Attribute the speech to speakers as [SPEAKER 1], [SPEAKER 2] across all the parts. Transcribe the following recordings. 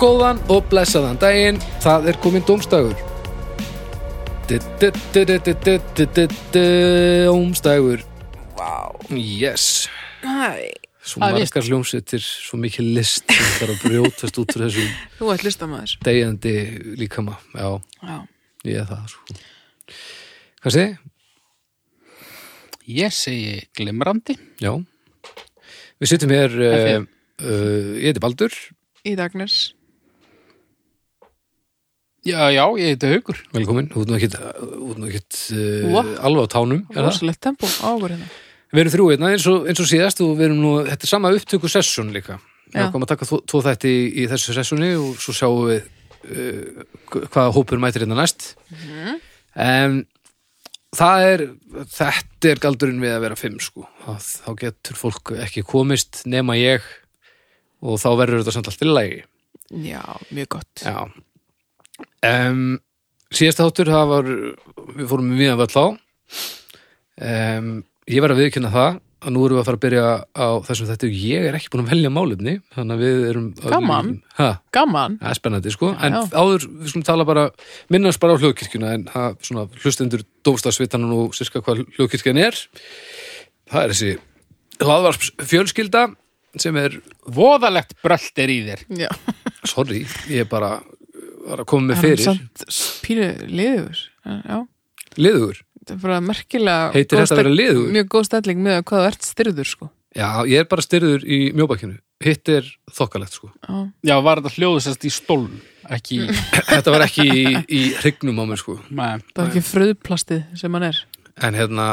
[SPEAKER 1] Góðan og blessaðan daginn, það er komin dómstagur. Dómstagur,
[SPEAKER 2] Vá
[SPEAKER 1] yes.
[SPEAKER 2] Æ,
[SPEAKER 1] Svo
[SPEAKER 3] Það er list.
[SPEAKER 1] margar hljómsveitir, svo mikil list sem þarf að brjótast út úr þessum
[SPEAKER 2] Þú ert listamæður
[SPEAKER 1] degjandi líkama. Já,
[SPEAKER 2] Já,
[SPEAKER 1] ég er það. Sko. Hvað segið?
[SPEAKER 3] Ég segi glimrandi.
[SPEAKER 1] Já. Við sittum hér, uh,
[SPEAKER 3] Kaffi.
[SPEAKER 1] uh, ég heiti Baldur,
[SPEAKER 2] í dagnes
[SPEAKER 3] Já, já, ég heiti Haugur.
[SPEAKER 1] velkomin, út nú ekkit, út nú ekkit
[SPEAKER 2] Vá.
[SPEAKER 1] uh, alveg á tánum. er það?
[SPEAKER 2] Rósalegt tempo á okkur hérna
[SPEAKER 1] Við erum þrjú einna eins og, eins og síðast og við erum nú, þetta er sama upptöku sessun líka. Við
[SPEAKER 2] Já.
[SPEAKER 1] komum að taka þó, tvo þætti í, í þessu sessunni og svo sjáum við uh, hva- hvaða hópur mætir hérna næst. En það er, þetta er galdurinn við að vera fimm sko. Það, þá getur fólk ekki komist nema ég og þá verður þetta samt allt í lagi.
[SPEAKER 2] Já, mjög gott
[SPEAKER 1] Já. Um, síðasta þáttur, það var, við fórum við að völl á. Um, ég var að viðkynna það að nú erum við að fara að byrja á þessum þetta og ég er ekki búin að velja málefni, þannig að við erum...
[SPEAKER 2] Gaman.
[SPEAKER 1] Ha,
[SPEAKER 2] Gaman
[SPEAKER 1] það er spennandi, sko. En
[SPEAKER 2] já.
[SPEAKER 1] áður, við skulum tala bara, minnast bara á hljóðkirkjuna, en það, svona, hlustendur dómstafsvitanum og sirka hvað hljóðkirkjan er. Það er þessi hlaðvarps fjölskylda sem er
[SPEAKER 3] Voðalegt brölt er í þér.
[SPEAKER 2] Já,
[SPEAKER 1] sorry, ég bara var að koma með
[SPEAKER 2] hann er
[SPEAKER 1] fyrir,
[SPEAKER 2] samt pínu liður Já,
[SPEAKER 1] liðugur
[SPEAKER 2] þetta er bara merkilega
[SPEAKER 1] Heitir
[SPEAKER 2] góð
[SPEAKER 1] þetta að vera
[SPEAKER 2] stell-
[SPEAKER 1] liðugur?
[SPEAKER 2] Mjög góð stelling með að hvað þú ert styrður sko
[SPEAKER 1] Já, ég er bara styrður í mjóbakkinu. Hitt er þokkalegt, sko.
[SPEAKER 2] Já,
[SPEAKER 3] Já, var þetta hljóðsast í stóln, ekki í...
[SPEAKER 1] Þetta var ekki í, í hrygnum á mér, sko.
[SPEAKER 3] Nei.
[SPEAKER 2] það er ekki fröðplastið sem hann er
[SPEAKER 1] En hérna,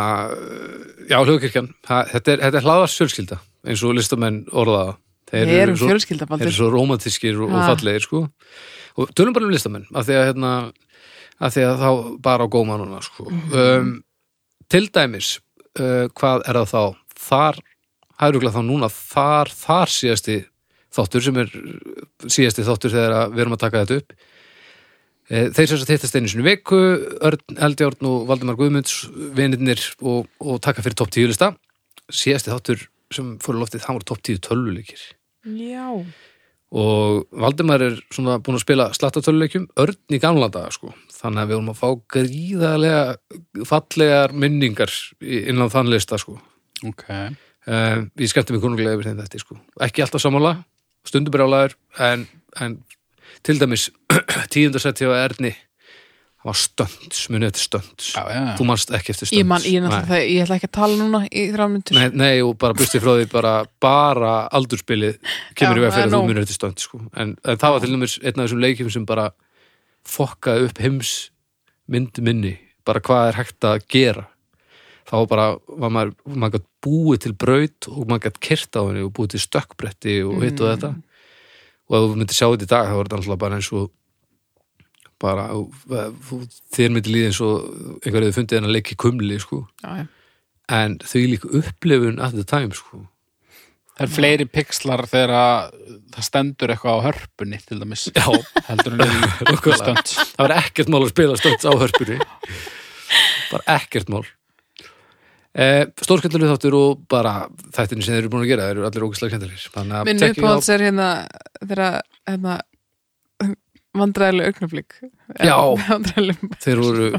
[SPEAKER 1] já, hljóðkirkjan, það- þetta er, þetta er hlaðars fjölskylda, eins og listamenn orðaða. Þeir
[SPEAKER 2] Við
[SPEAKER 1] eru
[SPEAKER 2] erum
[SPEAKER 1] svo,
[SPEAKER 2] fjölskylda
[SPEAKER 1] þeir eru
[SPEAKER 2] bandur
[SPEAKER 1] svo romantískir og, og
[SPEAKER 2] Ha.
[SPEAKER 1] fallegir, sko. Og tölum bara um listamenn, af því að, hérna, af því að þá bara á gómanuna, sko. um, til dæmis, uh, hvað er það þá? Þar, það er auðvitað þá núna, þar, þar síðasti þáttur sem er síðasti þáttur þegar að við erum að taka þetta upp Eh, þeir sem þess að hittast einu sinni í viku Örn Eldjárn og Valdimar Guðmunds vinirnir og, og taka fyrir topp 10 lista síðasti þáttur sem fóru loftið það voru topp 10 tölvuleikir
[SPEAKER 2] Já,
[SPEAKER 1] og Valdimar er svona búin að spila slatta tölvuleikjum Örn í gamla daga sko þannig að við vorum að fá gríðarlega fallegar minningar í- innan þann lista sko
[SPEAKER 3] Ok.
[SPEAKER 1] uh, ég skemmti mig konunglega yfir þeim þetta sko. ekki alltaf sammála, stundum brjálæður en, en til dæmis tíundarsætt hjá Erni það var stönds, munið þetta stönds
[SPEAKER 3] Já, já.
[SPEAKER 1] þú manst ekki eftir stönds
[SPEAKER 2] ég man, ég, náttúrulega
[SPEAKER 1] nei.
[SPEAKER 2] það, ég ætla ekki að tala núna í þrámyndur
[SPEAKER 1] Nei, nei, og bara busti frá því bara, bara aldurspilið kemur
[SPEAKER 2] Já,
[SPEAKER 1] í veg fyrir
[SPEAKER 2] það er
[SPEAKER 1] að þú
[SPEAKER 2] nóg.
[SPEAKER 1] munir þetta stönd sko. en, en það var til dæmis einn af þessum leikjum sem bara fokkaði upp heims mynd minni, bara hvað er hægt að gera þá var bara var maður, maður gætt búið til braut og maður gætt kyrt á henni og búið til stökkbretti og hitt
[SPEAKER 2] Mm.
[SPEAKER 1] og þetta og ef þú myndir sjá þetta í dag þá var þetta alltaf bara eins og bara, þú- þér myndir líði eins og einhverju þau fundið hennar leik í kumli sko
[SPEAKER 2] Já, já.
[SPEAKER 1] en þau líka upplifun at the time sko.
[SPEAKER 3] Það er fleiri pixlar þegar að það stendur eitthvað á hörpunni, til dæmis. Já. Heldur en í stönd.
[SPEAKER 1] það var ekkert mál að spila stönd á hörpunni bara ekkert mál eh, stórskendalegu þáttur og bara þættinni sem þeir eru búin að gera þeir eru allir ógæslega kendalir þannig að
[SPEAKER 2] Minn
[SPEAKER 1] tekja á-
[SPEAKER 2] uppáhalds er hérna þegar hérna, vandræðileg augnablík
[SPEAKER 1] Já.
[SPEAKER 2] vandræðileg,
[SPEAKER 1] þeir voru,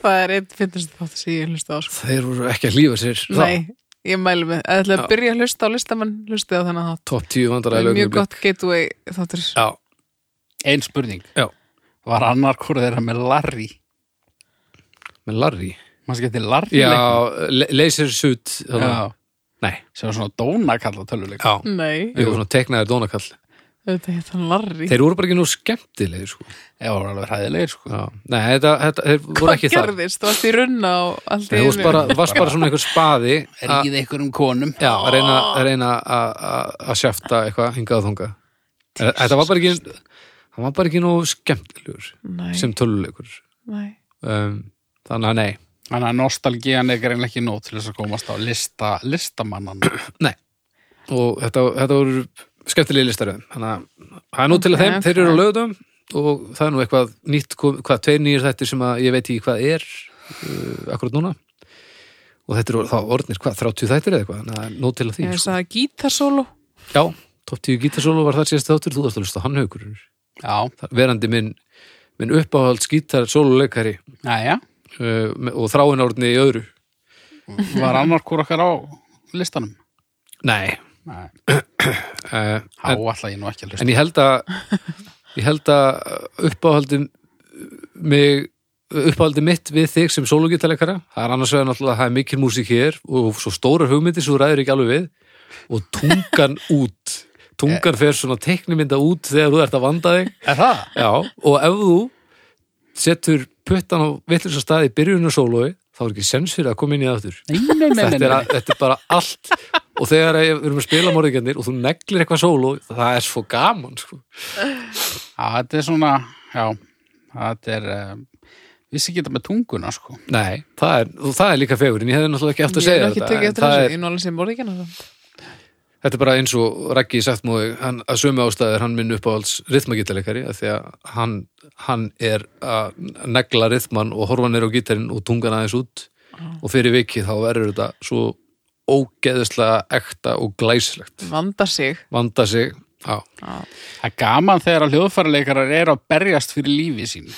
[SPEAKER 2] Það er einn finnast þátt sem ég hlusta á sko.
[SPEAKER 1] þeir voru ekki að lífa sér
[SPEAKER 2] Nei, ég mælu með Það ætla að byrja að hlusta á listamann Hlusti á þennan þátt
[SPEAKER 1] top 10
[SPEAKER 2] Það
[SPEAKER 1] vandaræði
[SPEAKER 2] er mjög gott gateway þáttur
[SPEAKER 1] já,
[SPEAKER 3] Einn spurning.
[SPEAKER 1] Já.
[SPEAKER 3] Var annar hvort þeirra með Larry?
[SPEAKER 1] með Larry
[SPEAKER 3] Mann skemmti Larry
[SPEAKER 1] já,
[SPEAKER 3] leiknum?
[SPEAKER 1] le- laser suit þarna.
[SPEAKER 3] Já.
[SPEAKER 1] nei,
[SPEAKER 3] Sem var svona dónakalla tölvuleik.
[SPEAKER 1] já
[SPEAKER 2] Nei,
[SPEAKER 1] Þeir voru svona teknaðir dónakall
[SPEAKER 2] þetta er hann Larry
[SPEAKER 1] Þeir voru bara ekki nú skemmtilegir sko.
[SPEAKER 3] Já, var alveg hræðilegir, sko.
[SPEAKER 1] Já. Nei, þetta, þetta, þeir voru
[SPEAKER 2] Hvað
[SPEAKER 1] ekki það
[SPEAKER 2] gerðist? Þú varst í runna og allt
[SPEAKER 1] Nei,
[SPEAKER 2] í
[SPEAKER 1] þú varst
[SPEAKER 2] einu.
[SPEAKER 1] bara, varst bara svona einhver spaði að
[SPEAKER 3] Ríð einhverjum konum.
[SPEAKER 1] já, að reyna, að reyna að- að að sjafta eitthvað hingað og þunga. Þetta var bara ekki, hann var bara ekki nóg skemmtilegur
[SPEAKER 2] Nei,
[SPEAKER 1] sem töluleikur.
[SPEAKER 2] nei
[SPEAKER 1] Um, þannig að nei,
[SPEAKER 3] Þannig að nostalgían er greinlega ekki nót til þess að komast á lista, listamannan.
[SPEAKER 1] nei. Og þetta, þetta voru skemmtilegi listaröðum. Þannig að það er nú til að
[SPEAKER 2] Ok,
[SPEAKER 1] þeim,
[SPEAKER 2] ok.
[SPEAKER 1] þeir eru á lögðum og það er nú eitthvað nýtt, kom- hvað tveir nýjir þættir sem að ég veit ekki hvað er uh, akkurat núna. Og þetta eru þá orðnir hvað, 30 þættir eða eitthvað, þannig að nú til að því.
[SPEAKER 2] Ég
[SPEAKER 1] sko.
[SPEAKER 2] veist að gítarsólu
[SPEAKER 1] Já, top 10 gítarsólu var það síðast þáttur, þú varst að hlusta á hann haugur.
[SPEAKER 3] já,
[SPEAKER 1] verandi minn, minn uppáhald skítar sóluleikari
[SPEAKER 3] næja
[SPEAKER 1] uh, me- og þráin árni í öðru
[SPEAKER 3] Var annarkur okkar á listanum?
[SPEAKER 1] Nei,
[SPEAKER 3] Nei,
[SPEAKER 1] uh,
[SPEAKER 3] þá ætla ég nú ekki að hlusta
[SPEAKER 1] en ég held að ég held að uppáhaldi mig uppáhaldi mitt við þig sem sólugítalekara það er annars vegar náttúrulega að það er mikil músík hér og svo stórar hugmyndir sem þú ræður ekki alveg við og tungan út tungan fer svona teknimynda út þegar þú ert að vanda þig
[SPEAKER 3] Er það?
[SPEAKER 1] Já, og ef þú setur puttan á vittlursa staði í byrjunum sólói, þá er ekki sens fyrir að koma inn í það aftur.
[SPEAKER 3] Nei, nei, nei, nei,
[SPEAKER 1] Þetta er,
[SPEAKER 3] nei.
[SPEAKER 1] að, þetta er bara allt og þegar að ég- við erum að spila morðingarnir og þú neglir eitthvað sóló, það er svo gaman sko.
[SPEAKER 3] Já, þetta er svona, já, þetta er, um, vissi ekki þetta með tunguna, sko.
[SPEAKER 1] Nei, það er, og það er líka fegurinn ég hefði náttúrulega ekki
[SPEAKER 2] Ég
[SPEAKER 1] eftir að
[SPEAKER 2] er
[SPEAKER 1] segja
[SPEAKER 2] ekki
[SPEAKER 1] þetta
[SPEAKER 2] tekið
[SPEAKER 1] en
[SPEAKER 2] eftir
[SPEAKER 1] það
[SPEAKER 2] þessu,
[SPEAKER 1] er,
[SPEAKER 2] ég er nú alveg sem morðingana samt.
[SPEAKER 1] þetta er bara eins og Raggi sagt múi, hann, að sömu ástæður hann minn uppáhalds rithmagítalekari af því að hann, hann er að negla rithman og horfa er á gítarinn og tungan aðeins út
[SPEAKER 3] Ah.
[SPEAKER 1] og fyrir vikið þá verður þetta svo ógeðislega ekta og glæsilegt
[SPEAKER 2] Vanda sig.
[SPEAKER 1] vanda sig á.
[SPEAKER 3] Það er gaman þegar að hljóðfæraleikarar eru að berjast fyrir lífi sín.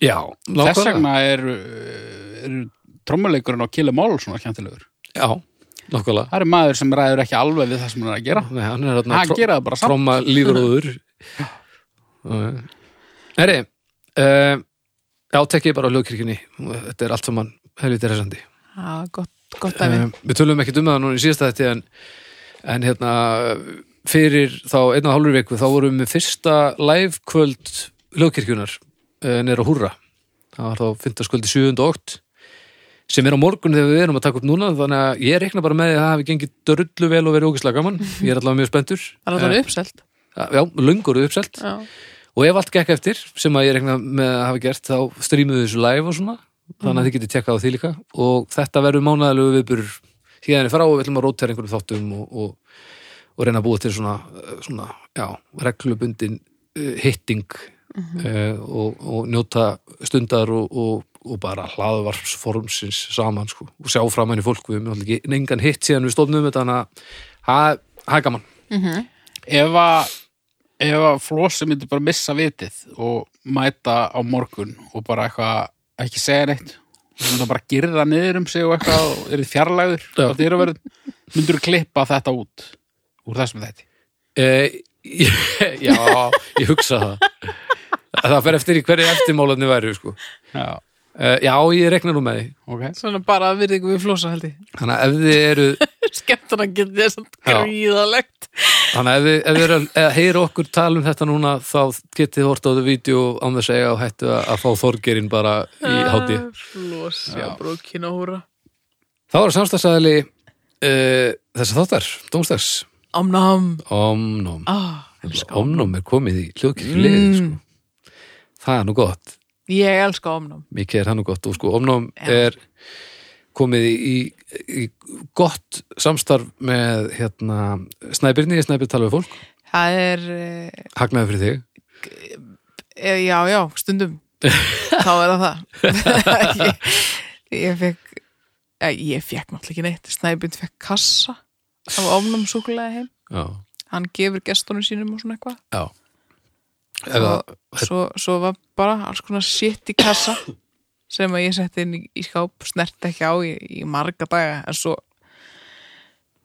[SPEAKER 1] já,
[SPEAKER 3] Þess
[SPEAKER 1] nákvæmlega
[SPEAKER 3] vegna eru, uh, eru trommuleikurinn á Kili Mál svona kjentilegur.
[SPEAKER 1] já, nákvæmlega
[SPEAKER 3] Það eru maður sem ræður ekki alveg við það sem hann er að gera.
[SPEAKER 1] Nei, hann er
[SPEAKER 3] Hann
[SPEAKER 1] þarna
[SPEAKER 3] gera það bara samt.
[SPEAKER 1] tróma lífur og öður herri uh, já, tekki ég bara á hljóðkirkjunni þetta er allt saman helviti resandi
[SPEAKER 2] Já, gott, gott dæmi.
[SPEAKER 1] Eh, Við tölum ekkert um það núna í síðasta þetta en, en hérna fyrir þá einn og hálfur viku þá vorum við fyrsta live kvöld lögkirkjunar nýra húrra það var þá fyndaskvöldi 7. og 8 sem er á morgun þegar við erum að taka upp núna þannig að ég rekna bara með því að það hafi gengið drullu vel og verið ógislega gaman ég er allavega mjög spenntur
[SPEAKER 2] Það er
[SPEAKER 1] Eh,
[SPEAKER 2] alveg uppselt.
[SPEAKER 1] Já, löngur uppselt
[SPEAKER 2] Já.
[SPEAKER 1] og ef allt gekk eftir sem að ég rekna með að hafa gert þá strýmuðu þessu live og svona þannig að þið getið tjekkað á því líka og þetta verður mánæðilegu viðburur hérna frá og við ætlum að rótera einhverjum þáttum og, og, og reyna að búa til svona, eh, svona já, reglubundin uh, hitting mm og, og njóta stundar og, og, og bara hlaðvarpsformsins saman sko, og sjá framan í fólk við erum náttúrulega ekki engan hitt síðan við stofnum þetta þannig að það- það er gaman
[SPEAKER 3] Ef að, ef að flósi myndi bara missa vitið og mæta á morgun og bara eitthvað, ekki segja neitt, þú myndi bara girða niður um sig og eitthvað og eru fjarlægur
[SPEAKER 1] Já.
[SPEAKER 3] og þeir eru verið, myndur klippa þetta út úr þessum þetta.
[SPEAKER 1] Eh, ég- já, ég hugsa það það fer eftir í hverju eftirmálanir væri sko.
[SPEAKER 3] Já,
[SPEAKER 1] uh, já, ég rekna nú með því
[SPEAKER 3] ok.
[SPEAKER 2] Svona bara að virðingu við flosa held ég.
[SPEAKER 1] þannig að ef þið eru
[SPEAKER 2] Skemmtana getið þér samt
[SPEAKER 1] Já.
[SPEAKER 2] gríðalegt.
[SPEAKER 1] þannig að ef þið, ef þið eru að heyra okkur tala um þetta núna þá getið þið hort á þetta vídeo án þess að segja og hættu að, að fá Þorgerinn bara í
[SPEAKER 2] Ah.
[SPEAKER 1] hátíð
[SPEAKER 2] Flosa, brókina húra.
[SPEAKER 1] þá er samstagsæðali uh, þess að þáttar, dómstags
[SPEAKER 2] Omnam.
[SPEAKER 1] omnum,
[SPEAKER 2] Ah, elska.
[SPEAKER 1] omnum er komið í hljóðkirkjulegið
[SPEAKER 2] Mm.
[SPEAKER 1] sko. það er nú gott
[SPEAKER 2] Ég elska omnam.
[SPEAKER 1] mikið er hann og gott og sko Omnám er komið í, í, í gott samstarf með hérna Snæbirni, Snæbir tala við fólk
[SPEAKER 2] Það er, eh,
[SPEAKER 1] hagnaði fyrir þig,
[SPEAKER 2] eh, já, já, stundum. Þá er það það. ég, ég fekk, eh, ég fekk náttúrulega ekki neitt. Snæbind fekk kassa af omnam súkulega heim.
[SPEAKER 1] já,
[SPEAKER 2] Hann gefur gestunum sínum og svona eitthvað.
[SPEAKER 1] já eða,
[SPEAKER 2] svo, svo var bara alls konar shit í kassa sem að ég setti inn í, í skáp snert ekki á í, í marga daga en svo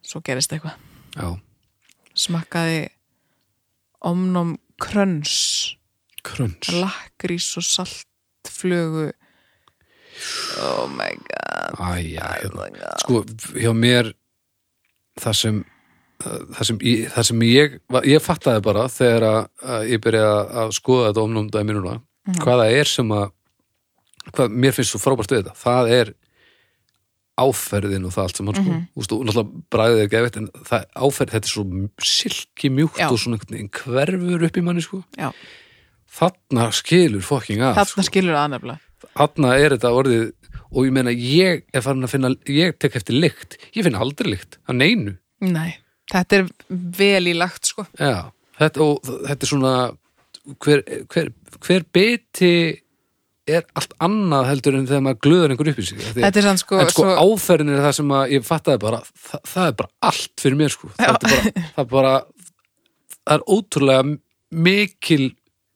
[SPEAKER 2] svo gerist eitthvað
[SPEAKER 1] já,
[SPEAKER 2] smakkaði omnum kröns
[SPEAKER 1] kröns
[SPEAKER 2] lakrís og saltflögu oh my god
[SPEAKER 1] æja, hérna
[SPEAKER 2] oh my god.
[SPEAKER 1] sko, hjá mér það sem það sem, ég- það sem ég var- ég fattaði bara þegar að, að ég byrjaði að- að skoða þetta omnumdaði mínuna mm.
[SPEAKER 2] Mhm.
[SPEAKER 1] hvað það er sem að hvað mér finnst svo frábært við þetta það er áferðin og það allt sem hann sko
[SPEAKER 2] Mhm.
[SPEAKER 1] mm -hmm. og náttúrulega bræðið er geðveitt en það áferð þetta er svo silki mjúkt
[SPEAKER 2] Já.
[SPEAKER 1] og svona einhvern veginn hverfur upp í manni sko
[SPEAKER 2] Já,
[SPEAKER 1] þarna skilur fokking að sko
[SPEAKER 2] þarna skilur það nefnilega
[SPEAKER 1] þarna er þetta orðið og ég meina ég er farin að finna ég tek eftir lykt, ég finn aldrei lykt að neinu,
[SPEAKER 2] Nei, þetta er vel í lagt sko
[SPEAKER 1] já þetta, og þ- þetta er svona hver, hver, hver beti er allt annað heldur en þegar maður glöður einhver upp í sig Af því að-
[SPEAKER 2] Þetta er sann sko,
[SPEAKER 1] en sko
[SPEAKER 2] svo,
[SPEAKER 1] áferðin er það sem að ég fattaði bara, það, það er bara allt fyrir mér sko, það er bara, það er bara það er ótrúlega mikil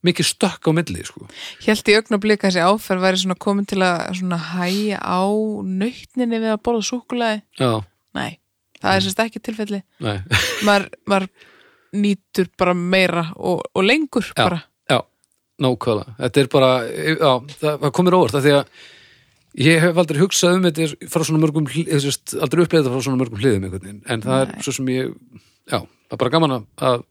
[SPEAKER 1] mikið stökk á milli sko.
[SPEAKER 2] Hjælt í augnablik að þessi áferð væri svona komin til að svona hæja á nautninni við að borða súkulaði.
[SPEAKER 1] já,
[SPEAKER 2] Nei, það
[SPEAKER 1] Mm.
[SPEAKER 2] er sérst ekki tilfelli.
[SPEAKER 1] nei
[SPEAKER 2] Maður, maður nýtur bara meira og, og lengur
[SPEAKER 1] Já.
[SPEAKER 2] bara.
[SPEAKER 1] Já, nákvæmlega. Þetta er bara, já, það, það komir óvart af því að ég hef aldrei hugsað um þetta frá svona mörgum, hl- eða sérst, aldrei upplega þetta frá svona mörgum hliðum einhvern veginn, en það
[SPEAKER 2] Nei.
[SPEAKER 1] er svo sem ég, já, það er bara gaman að- að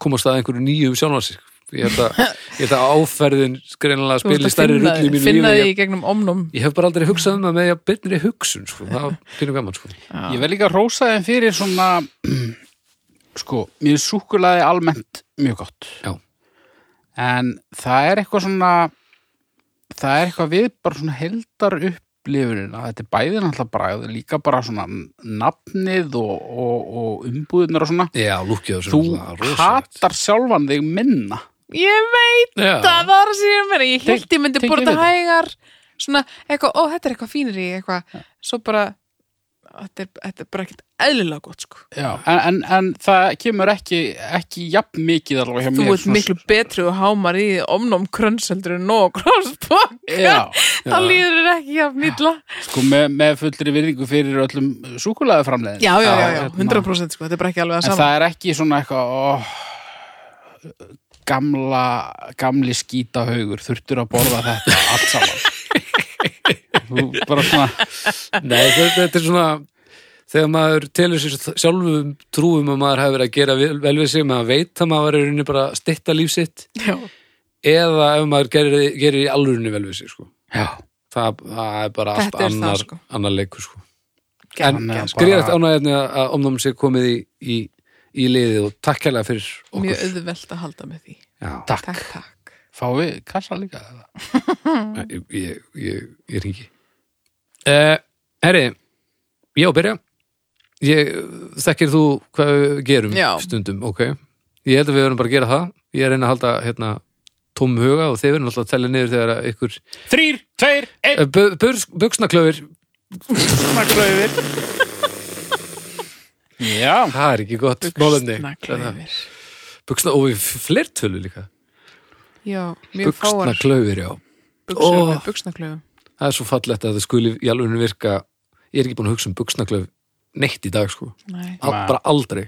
[SPEAKER 1] komast að einhverju nýju sjálfansir. Ég held að, ég held að áferðin greinilega
[SPEAKER 2] Þú ert
[SPEAKER 1] spili
[SPEAKER 2] að
[SPEAKER 1] stærri
[SPEAKER 2] finna-
[SPEAKER 1] rull í mínu
[SPEAKER 2] Finna
[SPEAKER 1] lífi.
[SPEAKER 2] því
[SPEAKER 1] Ég,
[SPEAKER 2] í gegnum omnum.
[SPEAKER 1] ég hef bara aldrei hugsað um það með að byrnir í hugsun, sko, það finnum gaman, sko.
[SPEAKER 3] Ég vel líka að rósa þeim fyrir svona sko, mér er súkulaði almennt mjög gott
[SPEAKER 1] Já,
[SPEAKER 3] en það er eitthvað svona það er eitthvað við bara svona heldar upplifunin að þetta er bæði náttúrulega bragð líka bara svona nafnið og, og, og umbúðunar og svona
[SPEAKER 1] já lúkkið á þessu.
[SPEAKER 3] þú
[SPEAKER 1] náttúrulega rosalegt.
[SPEAKER 3] hatar sjálfan þig minna
[SPEAKER 2] Ég veit
[SPEAKER 1] Já.
[SPEAKER 2] það, það var að segja mér. Ég held ég myndi
[SPEAKER 3] Tengi
[SPEAKER 2] borða
[SPEAKER 3] við þetta.
[SPEAKER 2] hægar. Svona eitthvað, ó, þetta er eitthvað fínir í eitthvað. Svo bara, þetta er, þetta er bara ekkert eðlilega gott, sko.
[SPEAKER 3] Já, en, en, en það kemur ekki ekki jafn mikið alveg hjá
[SPEAKER 2] Þú
[SPEAKER 3] mér
[SPEAKER 2] ert miklu betri og hámar í omnum krönseldur en nóg krönspokk
[SPEAKER 3] Já,
[SPEAKER 2] Það líður þér ekki jafn mýtla
[SPEAKER 3] sko með, með fullri virðingu fyrir öllum súkulaði framleiðin
[SPEAKER 2] Já, já, já, já, 100% sko, þetta er bara ekki alveg að
[SPEAKER 3] En
[SPEAKER 2] sama
[SPEAKER 3] það er ekki svona eitthvað ó, gamla gamli skítahaugur þurftur að borða þetta allt saman Þú bara svona
[SPEAKER 1] Nei, þetta, þetta er svona þegar maður telur sér sjálfum trúum að maður hafi verið að gera vel, vel við sig maður veit að maður er í rauninni bara að stytta líf sitt
[SPEAKER 2] Já,
[SPEAKER 1] eða ef maður gerir, gerir í alvörinni vel við sig sko.
[SPEAKER 3] Já,
[SPEAKER 1] það, það er bara allt
[SPEAKER 2] Þetta er það,
[SPEAKER 1] annar,
[SPEAKER 2] sko.
[SPEAKER 1] annar leikur sko. uh,
[SPEAKER 2] gegn,
[SPEAKER 3] Þannig að
[SPEAKER 2] gegn, sko.
[SPEAKER 1] Greiðast ánægjarni að- að omnámum sér komið í, í, í liðið og takk kærlega fyrir okkur
[SPEAKER 2] mjög auðvelt að halda með því
[SPEAKER 1] Já,
[SPEAKER 3] takk,
[SPEAKER 2] Takk, takk
[SPEAKER 3] Fá við kassa líka eða?
[SPEAKER 2] Mm.
[SPEAKER 1] ég, ég, ég, ég ringi uh, Herri, ég á að byrja ég, Þekkir þú hvað við gerum
[SPEAKER 2] Já.
[SPEAKER 1] stundum, ok Ég held að við verðum bara að gera það Ég er að reyna að halda hérna tóm huga og þeir verðum alltaf að tella niður þegar að ykkur
[SPEAKER 3] Þrýr, tveir, einn
[SPEAKER 1] uh, Bugsnaklöfur,
[SPEAKER 3] Buxnaklaufir Já,
[SPEAKER 1] það er ekki gott málefni. Hérna,
[SPEAKER 2] Buxnaklaufir
[SPEAKER 1] Buxna, og við flertölu líka
[SPEAKER 2] Já, mjög fáar
[SPEAKER 1] Bugsnaklöfur, já
[SPEAKER 2] buxur
[SPEAKER 1] Ó.
[SPEAKER 2] með buxnaklaufum
[SPEAKER 1] Það er svo fallegt að það skuli í alveg virka Ég er ekki búin að hugsa um bugsnaklöf neitt í dag sko
[SPEAKER 2] Nei,
[SPEAKER 1] Al,
[SPEAKER 3] Nei.
[SPEAKER 1] bara aldrei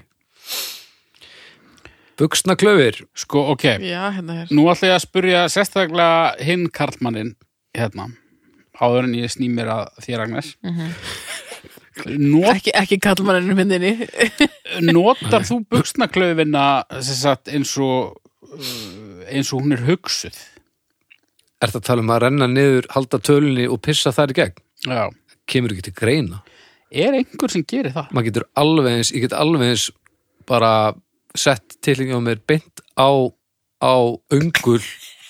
[SPEAKER 1] Buxnaklöfir
[SPEAKER 3] sko, ok
[SPEAKER 2] já, hérna hér
[SPEAKER 3] Nú ætla ég að spurja sérstaklega hinn karlmannin hérna, áður en ég sný mér að þér Agnes
[SPEAKER 1] Mhm.
[SPEAKER 3] Not,
[SPEAKER 2] Ekki, ekki kallmanninu myndinni
[SPEAKER 3] Notar þú buksnaklaufina sagt, eins og uh, eins og hún er hugsuð
[SPEAKER 1] Er það að tala um að renna niður, halda tölunni og pissa þar í gegn?
[SPEAKER 3] Já.
[SPEAKER 1] Kemur ekki til greina
[SPEAKER 3] Er einhver sem gerir það?
[SPEAKER 1] Maður getur alveg eins, ég get alveg eins bara sett tilingi á mér beint á, á öngul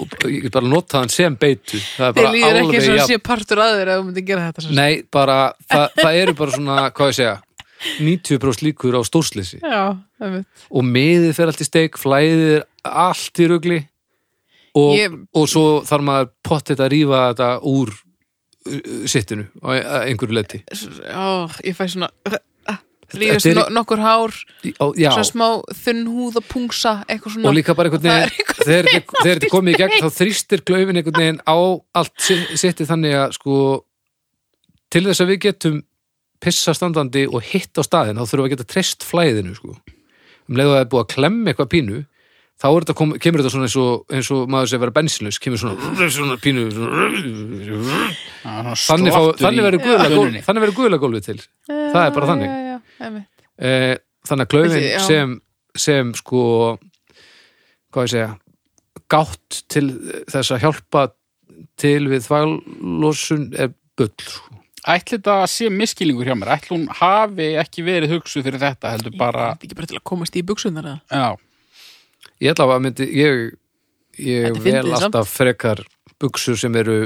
[SPEAKER 1] og ég get bara notað hann sem beitu Það er
[SPEAKER 2] Þið
[SPEAKER 1] bara
[SPEAKER 2] líður ekki eins
[SPEAKER 1] alveg
[SPEAKER 2] og
[SPEAKER 1] jafn-
[SPEAKER 2] sé partur aður að þú myndir gera þetta sem sagt.
[SPEAKER 1] Nei, bara, það, það eru bara svona, hvað ég segja 90% líkur á stórslýsi
[SPEAKER 2] Já, það veit
[SPEAKER 1] og miðið fer allt í steik, flæðið er allt í rugli og,
[SPEAKER 2] Ég-
[SPEAKER 1] og svo þarf maður pottet að rífa þetta úr uh, sittinu á að einhverju leti
[SPEAKER 2] Ó, ég fæ svona Rýðast
[SPEAKER 1] Þetta er-
[SPEAKER 2] no nokkur hár
[SPEAKER 1] Já,
[SPEAKER 2] svona smá þunn húð og pungsa eitthvað svona
[SPEAKER 1] og líka bara einhvern
[SPEAKER 2] Það er
[SPEAKER 1] veginn þegar þetta- þegar þetta er komið í gegn þá þrýstir klaufin einhvern veginn á allt si- sittið þannig að sko til þess að við getum pissa standandi og hitt á staðin þá þurfum við að geta treyst flæðinu sko. um leiðu að það er búið að klemma eitthvað pínu þá er þetta kom, kemur þetta svona eins og, eins og maður sem vera bensinlaus kemur svona, svona pínu svona,
[SPEAKER 3] Já,
[SPEAKER 1] þannig, fá, þannig verður guðlega gólf,
[SPEAKER 3] gólf
[SPEAKER 1] þannig verður guðlega gólfið til það er bara þannig.
[SPEAKER 2] já, já, einmitt.
[SPEAKER 1] Eh, þannig að klaufin
[SPEAKER 2] Þessi, já.
[SPEAKER 1] sem, sem sko hvað ég segja gátt til þess að hjálpa til við þvælósun er bull sko.
[SPEAKER 3] Ætli þetta sé miskilningur hjá mér Ætli hún hafi ekki verið hugsuð fyrir þetta heldur bara
[SPEAKER 2] Ég veit ekki bara til að komast í buksunar eða
[SPEAKER 3] Já,
[SPEAKER 1] ég ætla að myndi ég, ég
[SPEAKER 2] Þetta er
[SPEAKER 1] vel
[SPEAKER 2] fyndið samt.
[SPEAKER 1] alltaf frekar buksur sem eru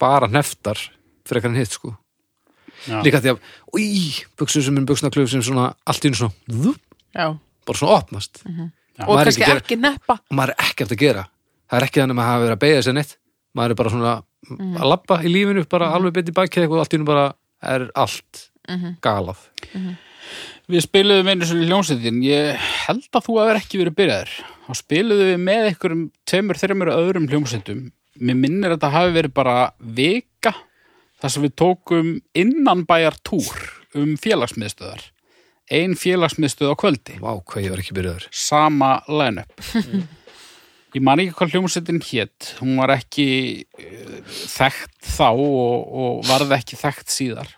[SPEAKER 1] bara neftar frekar en hitt sko
[SPEAKER 3] já.
[SPEAKER 1] líka því að, í, buksur sem er buksnaklauf sem svona allt í einu svona vup,
[SPEAKER 2] já.
[SPEAKER 1] bara svona opnast
[SPEAKER 3] Já,
[SPEAKER 2] og
[SPEAKER 1] maður er
[SPEAKER 2] kannski
[SPEAKER 1] ekki að
[SPEAKER 2] ekki,
[SPEAKER 1] gera-
[SPEAKER 2] neppa
[SPEAKER 1] og maður er ekkert að gera það er ekki þannig að maður hafa verið að beigja sér neitt maður er bara svona að labba í lífinu bara alveg beint í bakið eitthvað og allt í nú bara er allt galað
[SPEAKER 3] Við spiluðum einu svona hljómsveitin, ég held að þú hefur ekki verið byrjaður þá spiluðu við með einhverjum tveimur, þreimur öðrum hljómsveitum mér minnir að þetta hafi verið bara vika þar sem við tókum innanbæjar túr um félagsmiðstöðar ein félagsmiðstöð á kvöldi
[SPEAKER 1] Vá, hvað ég var ekki byrjaður
[SPEAKER 3] sama line-up ég man ekki hvað hljómsveitin hétt hún var ekki uh, þekkt þá og, og varð ekki þekkt síðar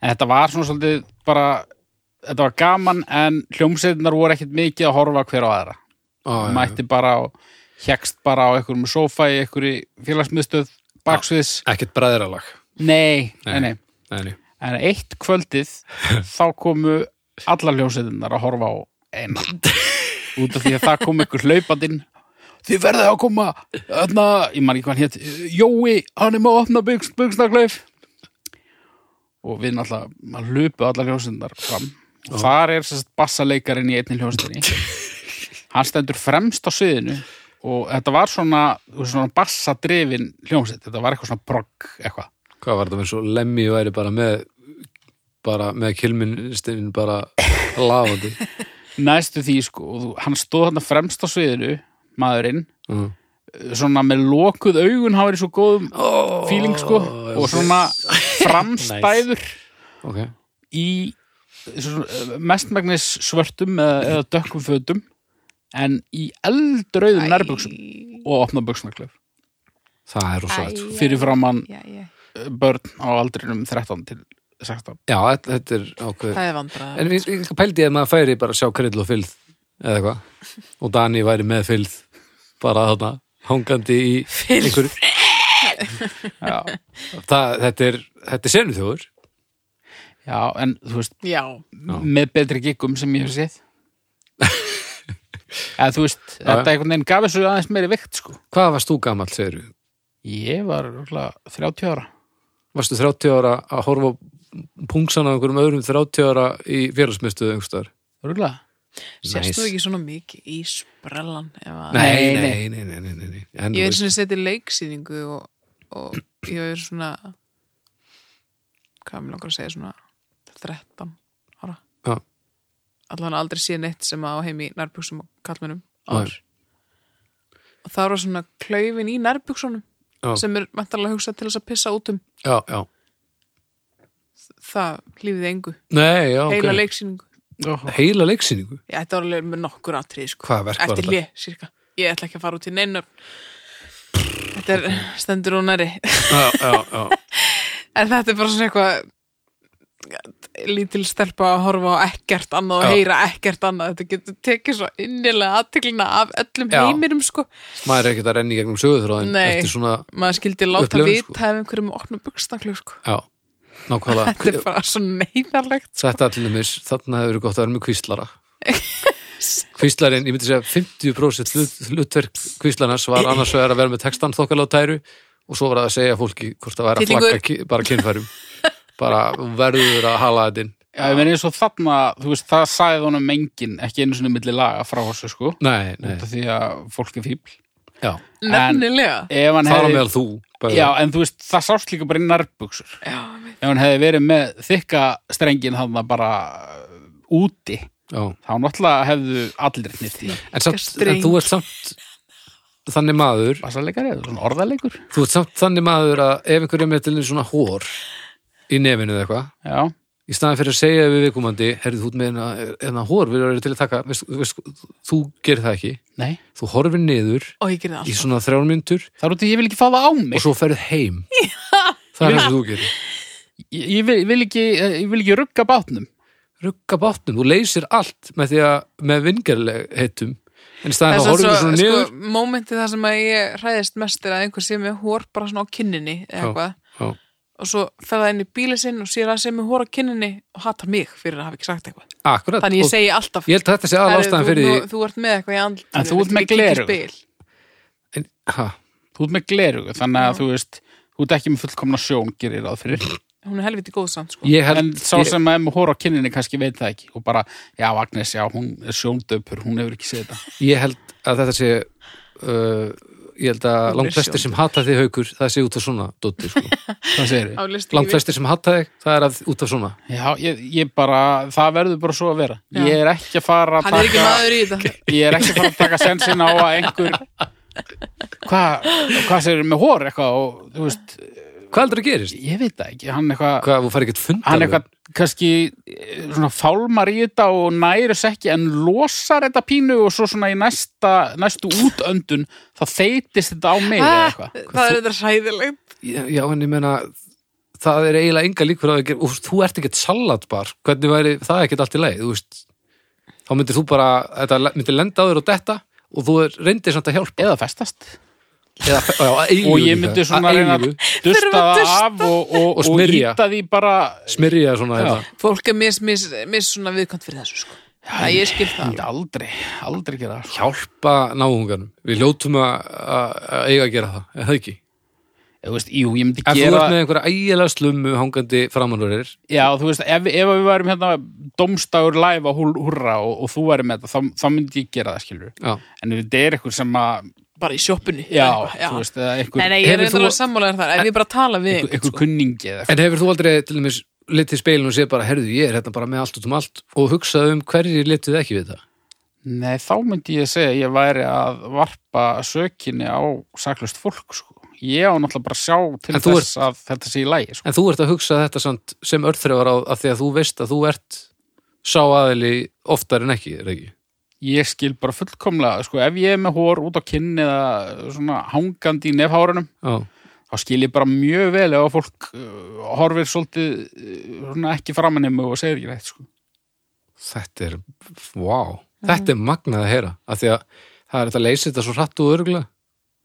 [SPEAKER 3] en þetta var svona svolítið bara þetta var gaman en hljómsveitinar voru ekkit mikið að horfa hver á aðra
[SPEAKER 1] Á, já, já.
[SPEAKER 3] mætti bara og hekst bara á einhverjum sófa í einhverju félagsmiðstöð baksviðs,
[SPEAKER 1] Ekkert bræðralag
[SPEAKER 3] nei, nei, nei
[SPEAKER 1] Nei, nei.
[SPEAKER 3] en eitt kvöldið þá komu allar hljómsveitinnar að horfa á eina út af því að það kom einhver hlaupandinn þið verðið að koma öðna, ég man ekki hvað hann hétt Jói, hann er með að opna byggs, byggsnakleif og við náttúrulega maður hlupu allar hljómsveitinnar fram og þar er sérst bassaleikarin í einni hljómsveitinni hann stendur fremst á sviðinu og þetta var svona, svona bassadrifin hljómsveit, þetta var eitthvað svona progg eitthvað
[SPEAKER 1] Hvað var þetta með svo lemmi væri bara með bara með kilminstinn bara lafandi
[SPEAKER 3] næstu því sko og þú- hann stóð þarna fremst á sviðinu maðurinn,
[SPEAKER 1] mm.
[SPEAKER 3] svona með lokuð augun hann var í svo góðum
[SPEAKER 1] oh,
[SPEAKER 3] feeling sko og svona framstæður
[SPEAKER 1] okay.
[SPEAKER 3] í svona, mestmagnis svörtum eða, eða dökkum fötum en í eldrauðum nærbuxum og opna buxnaklef
[SPEAKER 1] Það er rosalegt sko.
[SPEAKER 3] fyrir framann
[SPEAKER 2] já, já.
[SPEAKER 3] börn á aldrinum 13 til 16
[SPEAKER 1] Já, þetta- þetta er ákveð
[SPEAKER 2] Það er vandrað
[SPEAKER 1] En ég, ég pældi ég að maður færi bara að sjá kryll og fylð eða eitthvað og Dani væri með fylð bara þarna hangandi í
[SPEAKER 2] Fylgð.
[SPEAKER 1] einhverju
[SPEAKER 3] já,
[SPEAKER 1] Það, þetta er, þetta er senu þjóður
[SPEAKER 3] já, en þú veist
[SPEAKER 2] Já,
[SPEAKER 3] með betri giggum sem ég hef séð eða þú veist þetta einhvern veginn gaf þessu aðeins meiri vikt sko.
[SPEAKER 1] Hvað varst þú gamall, segir við?
[SPEAKER 3] ég var örugglega 30 ára
[SPEAKER 1] Varstu 30 ára að horfa á pungsana á einhverjum öðrum 30 ára í félagsmyndstöðu einhverstaðar?
[SPEAKER 3] Rúlega.
[SPEAKER 2] sérstu ekki svona mikið í sprellan ef að-
[SPEAKER 1] Nei,
[SPEAKER 3] Nei,
[SPEAKER 1] nei, nei, nei, nei, nei, nei. En, þú
[SPEAKER 2] Ég er
[SPEAKER 1] veist,
[SPEAKER 2] svona setið leiksýningu og, og ég er svona hvað er mér langar að segja svona 13 ára
[SPEAKER 1] já,
[SPEAKER 2] allan aldrei séð neitt sem á heimi í nærbuxum og kallmennum
[SPEAKER 1] Nei.
[SPEAKER 2] ár og það var svona klaufin í nærbuxunum
[SPEAKER 1] Já.
[SPEAKER 2] sem er vantarlega hugsað til þess að pissa út um
[SPEAKER 1] já, já.
[SPEAKER 2] það hlýfið engu,
[SPEAKER 1] Nei, já, ok.
[SPEAKER 2] heila leiksýningu
[SPEAKER 1] Heila leiksýningu?
[SPEAKER 2] ég ætti var alveg með nokkur atrið sko.
[SPEAKER 1] Hvaða verk var
[SPEAKER 2] eftir
[SPEAKER 1] þetta?
[SPEAKER 2] lið, sirka ég ætla ekki að fara út í neinar þetta er stendur og næri
[SPEAKER 1] Já, já, já.
[SPEAKER 2] En þetta er bara svona eitthvað lítil stelpa að horfa á ekkert annað og
[SPEAKER 1] Já.
[SPEAKER 2] heyra ekkert annað þetta getur tekið svo innilega aðteklina af öllum
[SPEAKER 1] Já.
[SPEAKER 2] heiminum sko
[SPEAKER 1] Maður er ekkert að renni í gegnum sögurþráðin
[SPEAKER 2] Nei.
[SPEAKER 1] eftir svona,
[SPEAKER 2] maður skildi láta
[SPEAKER 1] Upplifun,
[SPEAKER 2] vita
[SPEAKER 1] sko.
[SPEAKER 2] ef einhverjum opnum buksnaklu sko
[SPEAKER 1] já, nákvæmlega.
[SPEAKER 2] þetta er bara svo neyðarlegt
[SPEAKER 1] Þetta allir nefnir, þarna hefur verið gott að vera með kvíslara Kvíslarinn, ég myndi segja 50% hlut, hlutverk kvíslarnas var annars vegar að vera með textan þokkala á tæru og svo var það að segja fólki hvort það væri að
[SPEAKER 2] Tittlingur.
[SPEAKER 1] flagga ki- bara kynfærum bara verður að hala þetta inn
[SPEAKER 3] Já, ég meni eins og þarna, þú veist, það sagði honum engin, ekki einu svona milli laga frá þessu sko,
[SPEAKER 1] Nei, nei,
[SPEAKER 3] út af því að fólk er fíbl.
[SPEAKER 1] já
[SPEAKER 2] nefnilega
[SPEAKER 3] Ef hann
[SPEAKER 1] Það var
[SPEAKER 3] hefði,
[SPEAKER 1] meðal þú bara.
[SPEAKER 3] já, en þú veist, það sást líka bara í nærbuxur.
[SPEAKER 2] Já, einmitt.
[SPEAKER 3] Ef hann hefði verið með þykka strengin hann bara uh, úti,
[SPEAKER 1] já.
[SPEAKER 3] þá náttúrulega hefðu allir nýtt því.
[SPEAKER 1] En, samt,
[SPEAKER 2] Streng.
[SPEAKER 1] en þú ert samt þannig maður
[SPEAKER 3] Bassaleikari, eða svona orðalegur.
[SPEAKER 1] þú ert samt þannig maður að ef einhverjum er til þín svona hór í nefinu eða eitthvað
[SPEAKER 3] Já,
[SPEAKER 1] í staðan fyrir að segja við viðkomandi herrið þú út með hérna hór við erum til að taka, veist, veist, þú gerir það ekki
[SPEAKER 3] nei,
[SPEAKER 1] þú horfir niður
[SPEAKER 2] og ég gerði
[SPEAKER 1] í
[SPEAKER 2] alltaf
[SPEAKER 1] svona þrjár myndur
[SPEAKER 3] það er út af því ég vil ekki fá það á mig.
[SPEAKER 1] og svo ferð heim það er það sem þú gerir
[SPEAKER 3] Ég, ég, vil, ég, vil ekki, eh, ég vil ekki rugga bátnum.
[SPEAKER 1] rugga bátnum, þú leysir allt með því að með vingarleg heitum en í staðan
[SPEAKER 2] Það
[SPEAKER 1] þá
[SPEAKER 2] er
[SPEAKER 1] horfir
[SPEAKER 2] svo,
[SPEAKER 1] þú svona
[SPEAKER 2] sko,
[SPEAKER 1] niður
[SPEAKER 2] mómentið það sem að ég hræðist mest er að einhver sé með hór bara svona á kinninni eða
[SPEAKER 1] Já.
[SPEAKER 2] eitthvað
[SPEAKER 1] Já,
[SPEAKER 2] og svo fer það inn í bílið sinn og sér að sem er hóra kinninni og hatar mig fyrir að hafa ekki sagt eitthvað
[SPEAKER 1] akkurat,
[SPEAKER 2] þannig ég
[SPEAKER 1] og
[SPEAKER 2] segi alltaf
[SPEAKER 1] ég held að þetta sé aðal
[SPEAKER 2] Herru,
[SPEAKER 1] ástæðan
[SPEAKER 2] þú-
[SPEAKER 1] fyrir
[SPEAKER 2] nú-
[SPEAKER 1] því
[SPEAKER 2] Þú ert með eitthvað í andlutinu
[SPEAKER 3] En þú ert með gleraugu.
[SPEAKER 1] en, ha,
[SPEAKER 3] Þú ert með glerugu, þannig að þú veist, þú ert ekki með fullkomna sjón, gerir ráð fyrir.
[SPEAKER 2] Hún er helviti góð samt sko
[SPEAKER 1] ég
[SPEAKER 3] en
[SPEAKER 1] held
[SPEAKER 3] sá
[SPEAKER 1] ég,
[SPEAKER 3] sem að með hóra á kinninni kannski veit það ekki og bara, já Agnes, já, hún er sjóndöpur hún hefur ekki séð þetta
[SPEAKER 1] ég held að þetta sé uh, ég held að langt flestir sem hata þig haukur það sé út af svona dóti sko.
[SPEAKER 3] Hvað segir
[SPEAKER 2] á listu
[SPEAKER 1] langt flestir sem hata þig það er að, út af svona
[SPEAKER 3] Já, ég, ég bara, það verður bara svo að vera.
[SPEAKER 2] Já.
[SPEAKER 3] Ég er ekki að fara að
[SPEAKER 2] hann er ekki
[SPEAKER 3] taka,
[SPEAKER 2] maður í þetta
[SPEAKER 3] ég er ekki að fara að taka sensin á að einhver, hvað, hvað segir með hór eitthvað og, þú veist,
[SPEAKER 1] hvað heldur að gerist?
[SPEAKER 3] ég veit það ekki, hann eitthvað,
[SPEAKER 1] Hvað, þú fari ekkert funda
[SPEAKER 3] hann
[SPEAKER 1] við?
[SPEAKER 3] eitthvað kannski eh, svona fálmar í þetta og næri þess ekki en losar þetta pínu og svo svona í næsta, næstu útöndun þá þeytist þetta á mig eða
[SPEAKER 2] Ah,
[SPEAKER 3] eitthvað.
[SPEAKER 2] það er þetta sæðilegt
[SPEAKER 1] Já, en ég meina það er eiginlega enga líkur að það ger og þú ert ekkert salatbar, hvernig væri það er ekkert allt í leið, þú veist þá myndir þú bara, þetta myndir lenda á þér og detta og þú er reyndir samt að hjálpa
[SPEAKER 3] Eða festast.
[SPEAKER 1] Eða, já, að eilífu
[SPEAKER 3] Og ég
[SPEAKER 1] líka,
[SPEAKER 3] myndi svona
[SPEAKER 1] að
[SPEAKER 3] reyna að
[SPEAKER 1] eilífu.
[SPEAKER 3] dusta
[SPEAKER 2] Þurfa að
[SPEAKER 3] það
[SPEAKER 2] dusta.
[SPEAKER 3] af og, og,
[SPEAKER 1] Og
[SPEAKER 3] og,
[SPEAKER 1] smyrja.
[SPEAKER 3] ýta því bara
[SPEAKER 1] smyrja svona hérna.
[SPEAKER 3] Já.
[SPEAKER 1] þetta
[SPEAKER 2] fólk er mis, mis, mis svona viðkvæmt fyrir þessu sko. það ég skil
[SPEAKER 3] Ég
[SPEAKER 2] það
[SPEAKER 3] myndi aldrei, aldrei gera það sko.
[SPEAKER 1] hjálpa náunganum, við ljótum að, að, að eiga að gera það, eða ekki
[SPEAKER 3] Þú veist, jú, ég myndi
[SPEAKER 1] ef þú
[SPEAKER 3] gera
[SPEAKER 1] ert með einhverja ægilega slummu hangandi framanúrir
[SPEAKER 3] Já, þú veist, ef, ef við værum hérna domstagur live á húl, húrra og, og þú værum með þetta, þá, þá myndi ég gera það skilur
[SPEAKER 1] já.
[SPEAKER 3] En ef þetta er eitthvað sem að
[SPEAKER 2] bara í sjoppunni
[SPEAKER 3] Já,
[SPEAKER 2] eða eitthvað,
[SPEAKER 3] þú veist, eða
[SPEAKER 2] Nei,
[SPEAKER 3] eitthvað
[SPEAKER 2] nei, ég er
[SPEAKER 1] Hefur
[SPEAKER 2] reyndar
[SPEAKER 1] þú-
[SPEAKER 2] að sammála þér þar, ef ég bara tala við einhvern,
[SPEAKER 3] eitthvað kunningi eða eitthvað
[SPEAKER 1] en hefur þú aldrei til dæmis litið speilin og séð bara, herðu, ég er hérna bara með allt út um allt og hugsað um hverjir litið ekki við það
[SPEAKER 3] Nei, þá myndi ég segja að ég væri að varpa sökinni á saklust fólk sko. Ég á náttúrulega bara að sjá til
[SPEAKER 1] En þú
[SPEAKER 3] þess að þetta sé í lægi sko.
[SPEAKER 1] En þú ert að hugsa þetta samt sem örþreifar á að því að þú veist að þú ert sá aðili oftar en ekki, er ekki?
[SPEAKER 3] Ég skil bara fullkomlega, sko, ef ég er með hór út á kinn eða svona hangandi í nefhárunum
[SPEAKER 1] Já,
[SPEAKER 3] þá skil ég bara mjög vel ef að fólk uh, horfir svolítið uh, svona ekki framan í mig og segir ekki neitt sko.
[SPEAKER 1] þetta er, wow, þetta er magnað að heyra, af því að það er þetta að leysa þetta svo hratt og örgulega,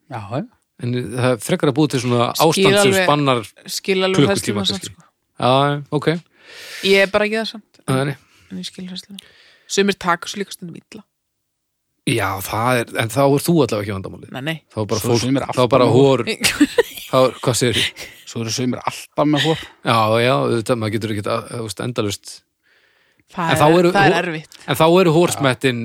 [SPEAKER 3] Já, já.
[SPEAKER 1] en það er frekar að búið til svona ástand sem
[SPEAKER 2] alveg-
[SPEAKER 1] spannar,
[SPEAKER 2] skil alveg
[SPEAKER 1] Klukkutíma
[SPEAKER 2] hræðsluna samt,
[SPEAKER 1] kannski.
[SPEAKER 2] sko.
[SPEAKER 1] já, ok,
[SPEAKER 2] ég er bara ekki það samt
[SPEAKER 1] það er
[SPEAKER 2] en ég skil hræðsluna sumir taka svo líka stundum illa
[SPEAKER 1] Já, það er, en þá er þú allavega ekki vandamálið.
[SPEAKER 2] nei, nei,
[SPEAKER 1] Þá er bara
[SPEAKER 3] Svo
[SPEAKER 1] fólk,
[SPEAKER 3] sem er
[SPEAKER 1] þá
[SPEAKER 3] alltaf
[SPEAKER 1] er bara
[SPEAKER 3] með
[SPEAKER 1] hór, þá er, hvað segir ég?
[SPEAKER 3] Svo eru sögumir alltaf með hór
[SPEAKER 1] Já, já, þetta, maður getur ekki, þú veist, endalust En
[SPEAKER 2] það,
[SPEAKER 1] þá
[SPEAKER 2] er,
[SPEAKER 1] eru-
[SPEAKER 2] það er
[SPEAKER 1] hú-
[SPEAKER 2] erfitt
[SPEAKER 1] En þá eru hórsmettin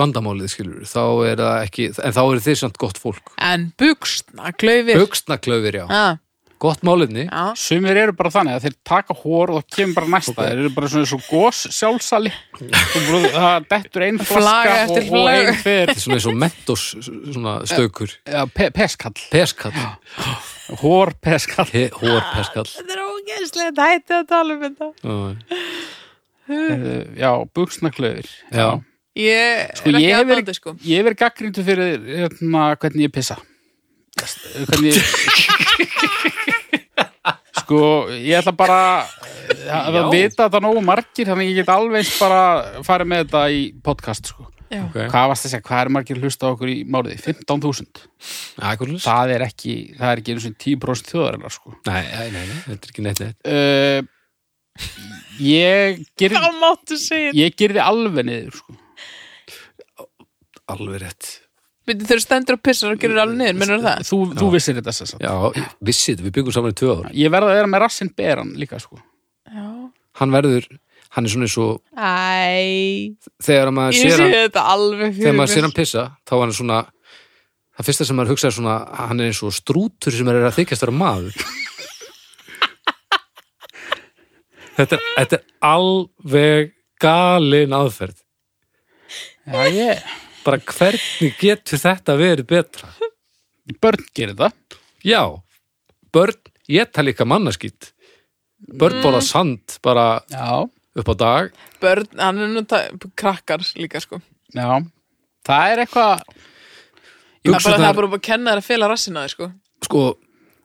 [SPEAKER 1] vandamálið skilur þá er það ekki, en þá eru þið samt gott fólk
[SPEAKER 2] en buksna, klaufir
[SPEAKER 1] Bugsnaklaufir, já,
[SPEAKER 2] ah,
[SPEAKER 1] gott málefni
[SPEAKER 2] já,
[SPEAKER 3] Sögumir eru bara þannig að þeir taka hór og það kemur bara næsta Þeir eru bara svona svo gos sjálfsali Þú brúð- Það dettur ein flaska
[SPEAKER 2] Flaga eftir
[SPEAKER 3] og, og
[SPEAKER 2] flaga.
[SPEAKER 3] ein fer
[SPEAKER 1] Þetta er svona eins og mentos svona stökur,
[SPEAKER 3] Já, pe peskall,
[SPEAKER 1] peskall
[SPEAKER 3] hór peskall
[SPEAKER 1] He- hórpeskall
[SPEAKER 2] þetta er ógeðslega hætti að tala um þetta
[SPEAKER 1] Já,
[SPEAKER 2] Hm.
[SPEAKER 3] Eh, Já, buksnaklaufir
[SPEAKER 1] Já.
[SPEAKER 2] ég
[SPEAKER 3] Sko,
[SPEAKER 2] er
[SPEAKER 3] ég
[SPEAKER 2] ekki
[SPEAKER 3] hef
[SPEAKER 2] að
[SPEAKER 3] verið-
[SPEAKER 2] báta sko
[SPEAKER 3] Ég verið gaggrindu fyrir hérna, hvernig ég pissa hvernig ég sko, ég ætla bara eh, að
[SPEAKER 1] Já.
[SPEAKER 3] vita þetta nógu margir þannig að ég get alveg eins bara farið með þetta í podcast sko.
[SPEAKER 2] Já.
[SPEAKER 1] ok
[SPEAKER 3] hvað varst að segja, hvað er margir að hlusta á okkur í máliði 15.000,
[SPEAKER 1] Akkurlis?
[SPEAKER 3] það er ekki það er ekki einu sem 10% þjóðarinnar sko.
[SPEAKER 1] Nei, nei, nei, nei, þetta er ekki neitt neitt
[SPEAKER 3] uh, ég gerði,
[SPEAKER 2] þá máttu segja
[SPEAKER 3] ég gerði alveg niður sko.
[SPEAKER 1] Alveg rétt
[SPEAKER 2] Byrju, þegar þú stendur og pissar og gerir alveg niður, mennur það?
[SPEAKER 3] þú, þú vissir þetta sem sagt.
[SPEAKER 1] Já, vissið, við byggum saman í tvö ár
[SPEAKER 3] ég verði að vera með rassinn beran líka sko.
[SPEAKER 2] Já.
[SPEAKER 1] Hann verður, hann er svona eins og
[SPEAKER 2] Æ,
[SPEAKER 1] þegar maður
[SPEAKER 2] ég
[SPEAKER 1] sér
[SPEAKER 2] sé
[SPEAKER 1] hann
[SPEAKER 2] þetta alveg fyrir
[SPEAKER 1] þegar maður sér hann pissa, þá er hann svona það fyrsta sem maður hugsaði svona hann er eins og strútur sem er að þykjast vera maður þetta, er, þetta er alveg galin aðferð
[SPEAKER 3] já, ég,
[SPEAKER 1] bara hvernig getur þetta verið betra
[SPEAKER 3] börn gerir það
[SPEAKER 1] já, börn ég tala líka mannaskýtt börn borða sand bara
[SPEAKER 3] Já,
[SPEAKER 1] upp á dag
[SPEAKER 2] Börn, hann er nú ta- krakkar líka, sko.
[SPEAKER 3] já. Það er eitthvað,
[SPEAKER 2] Það er bara það
[SPEAKER 1] Buxurnar-
[SPEAKER 2] er bara að kenna þér að fela rassin á þér, sko.
[SPEAKER 1] sko,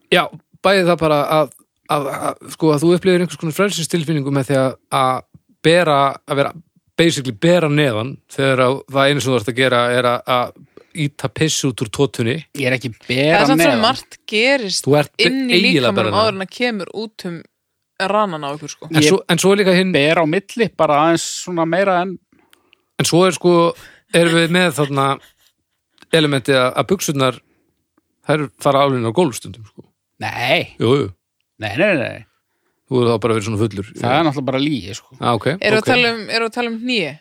[SPEAKER 1] já, bæði það bara að, að, að sko, að þú upplifir einhvers konar frelsistilfinningu með því að, að bera, að vera basically bera neðan þegar að það einu sem þú ert að gera er að, að íta piss út úr tótunni
[SPEAKER 3] ég er ekki
[SPEAKER 2] Það
[SPEAKER 3] bera
[SPEAKER 2] er samt sem
[SPEAKER 3] neðan.
[SPEAKER 2] margt gerist
[SPEAKER 1] þú ert
[SPEAKER 2] inn í
[SPEAKER 1] eiginlega
[SPEAKER 2] líkamanum
[SPEAKER 1] bera
[SPEAKER 2] áður
[SPEAKER 1] neðan
[SPEAKER 2] en að kemur út um rannan á ykkur, sko.
[SPEAKER 1] en svo, en svo er líka hinn,
[SPEAKER 3] Bera á milli, bara aðeins svona meira en,
[SPEAKER 1] en svo er sko erum við með þarna elementið að, að buksunar þær fara alveg inn á gólfstundum sko.
[SPEAKER 3] nei,
[SPEAKER 1] jú, jú,
[SPEAKER 3] nei, nei, nei.
[SPEAKER 1] þú er þá bara verið svona fullur
[SPEAKER 3] Það er náttúrulega bara lígi, sko.
[SPEAKER 1] ah, okay,
[SPEAKER 2] Eru
[SPEAKER 1] okay.
[SPEAKER 2] að tala um, eru að tala um nýi,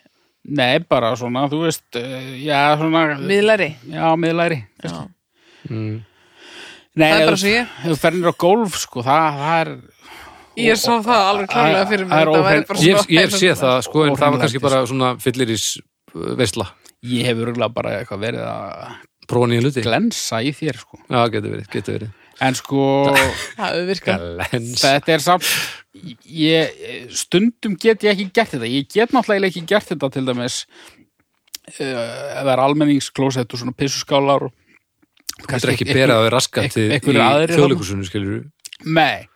[SPEAKER 3] Nei, bara svona, þú veist, uh, eh, já, svona,
[SPEAKER 2] miðlæri?
[SPEAKER 3] já, miðlæri.
[SPEAKER 2] Já.
[SPEAKER 1] mm.
[SPEAKER 3] Nei,
[SPEAKER 2] Það er bara
[SPEAKER 3] ef-
[SPEAKER 2] svo ég.
[SPEAKER 3] ef þú fernir á golf sko, það, það er
[SPEAKER 2] Ég sá það alveg klárlega fyrir
[SPEAKER 3] Það
[SPEAKER 2] mig
[SPEAKER 3] er
[SPEAKER 2] þetta væri
[SPEAKER 3] óhrein-
[SPEAKER 2] bara
[SPEAKER 1] Ég,
[SPEAKER 2] svona-
[SPEAKER 1] ég hef séð það, sko, en það var kannski
[SPEAKER 3] Óhreinlæti,
[SPEAKER 1] bara svona fylliris veistla,
[SPEAKER 3] ég hef örgulega bara eitthvað verið að
[SPEAKER 1] prófa nýja hluti.
[SPEAKER 3] glensa í þér sko.
[SPEAKER 1] Já, getur verið, getur verið.
[SPEAKER 3] en sko
[SPEAKER 2] Það hefur virkað.
[SPEAKER 1] Glens.
[SPEAKER 3] þetta er samt ég, stundum get ég ekki gert þetta ég get náttúrulega ekki gert þetta til dæmis uh, ef það er almenningsklósett og svona pissuskálar og
[SPEAKER 1] Þú getur ekki berað á raskat í
[SPEAKER 3] einhverjir aðrir þarna?
[SPEAKER 1] þjóðleikursunum, skilur við.
[SPEAKER 3] Nei,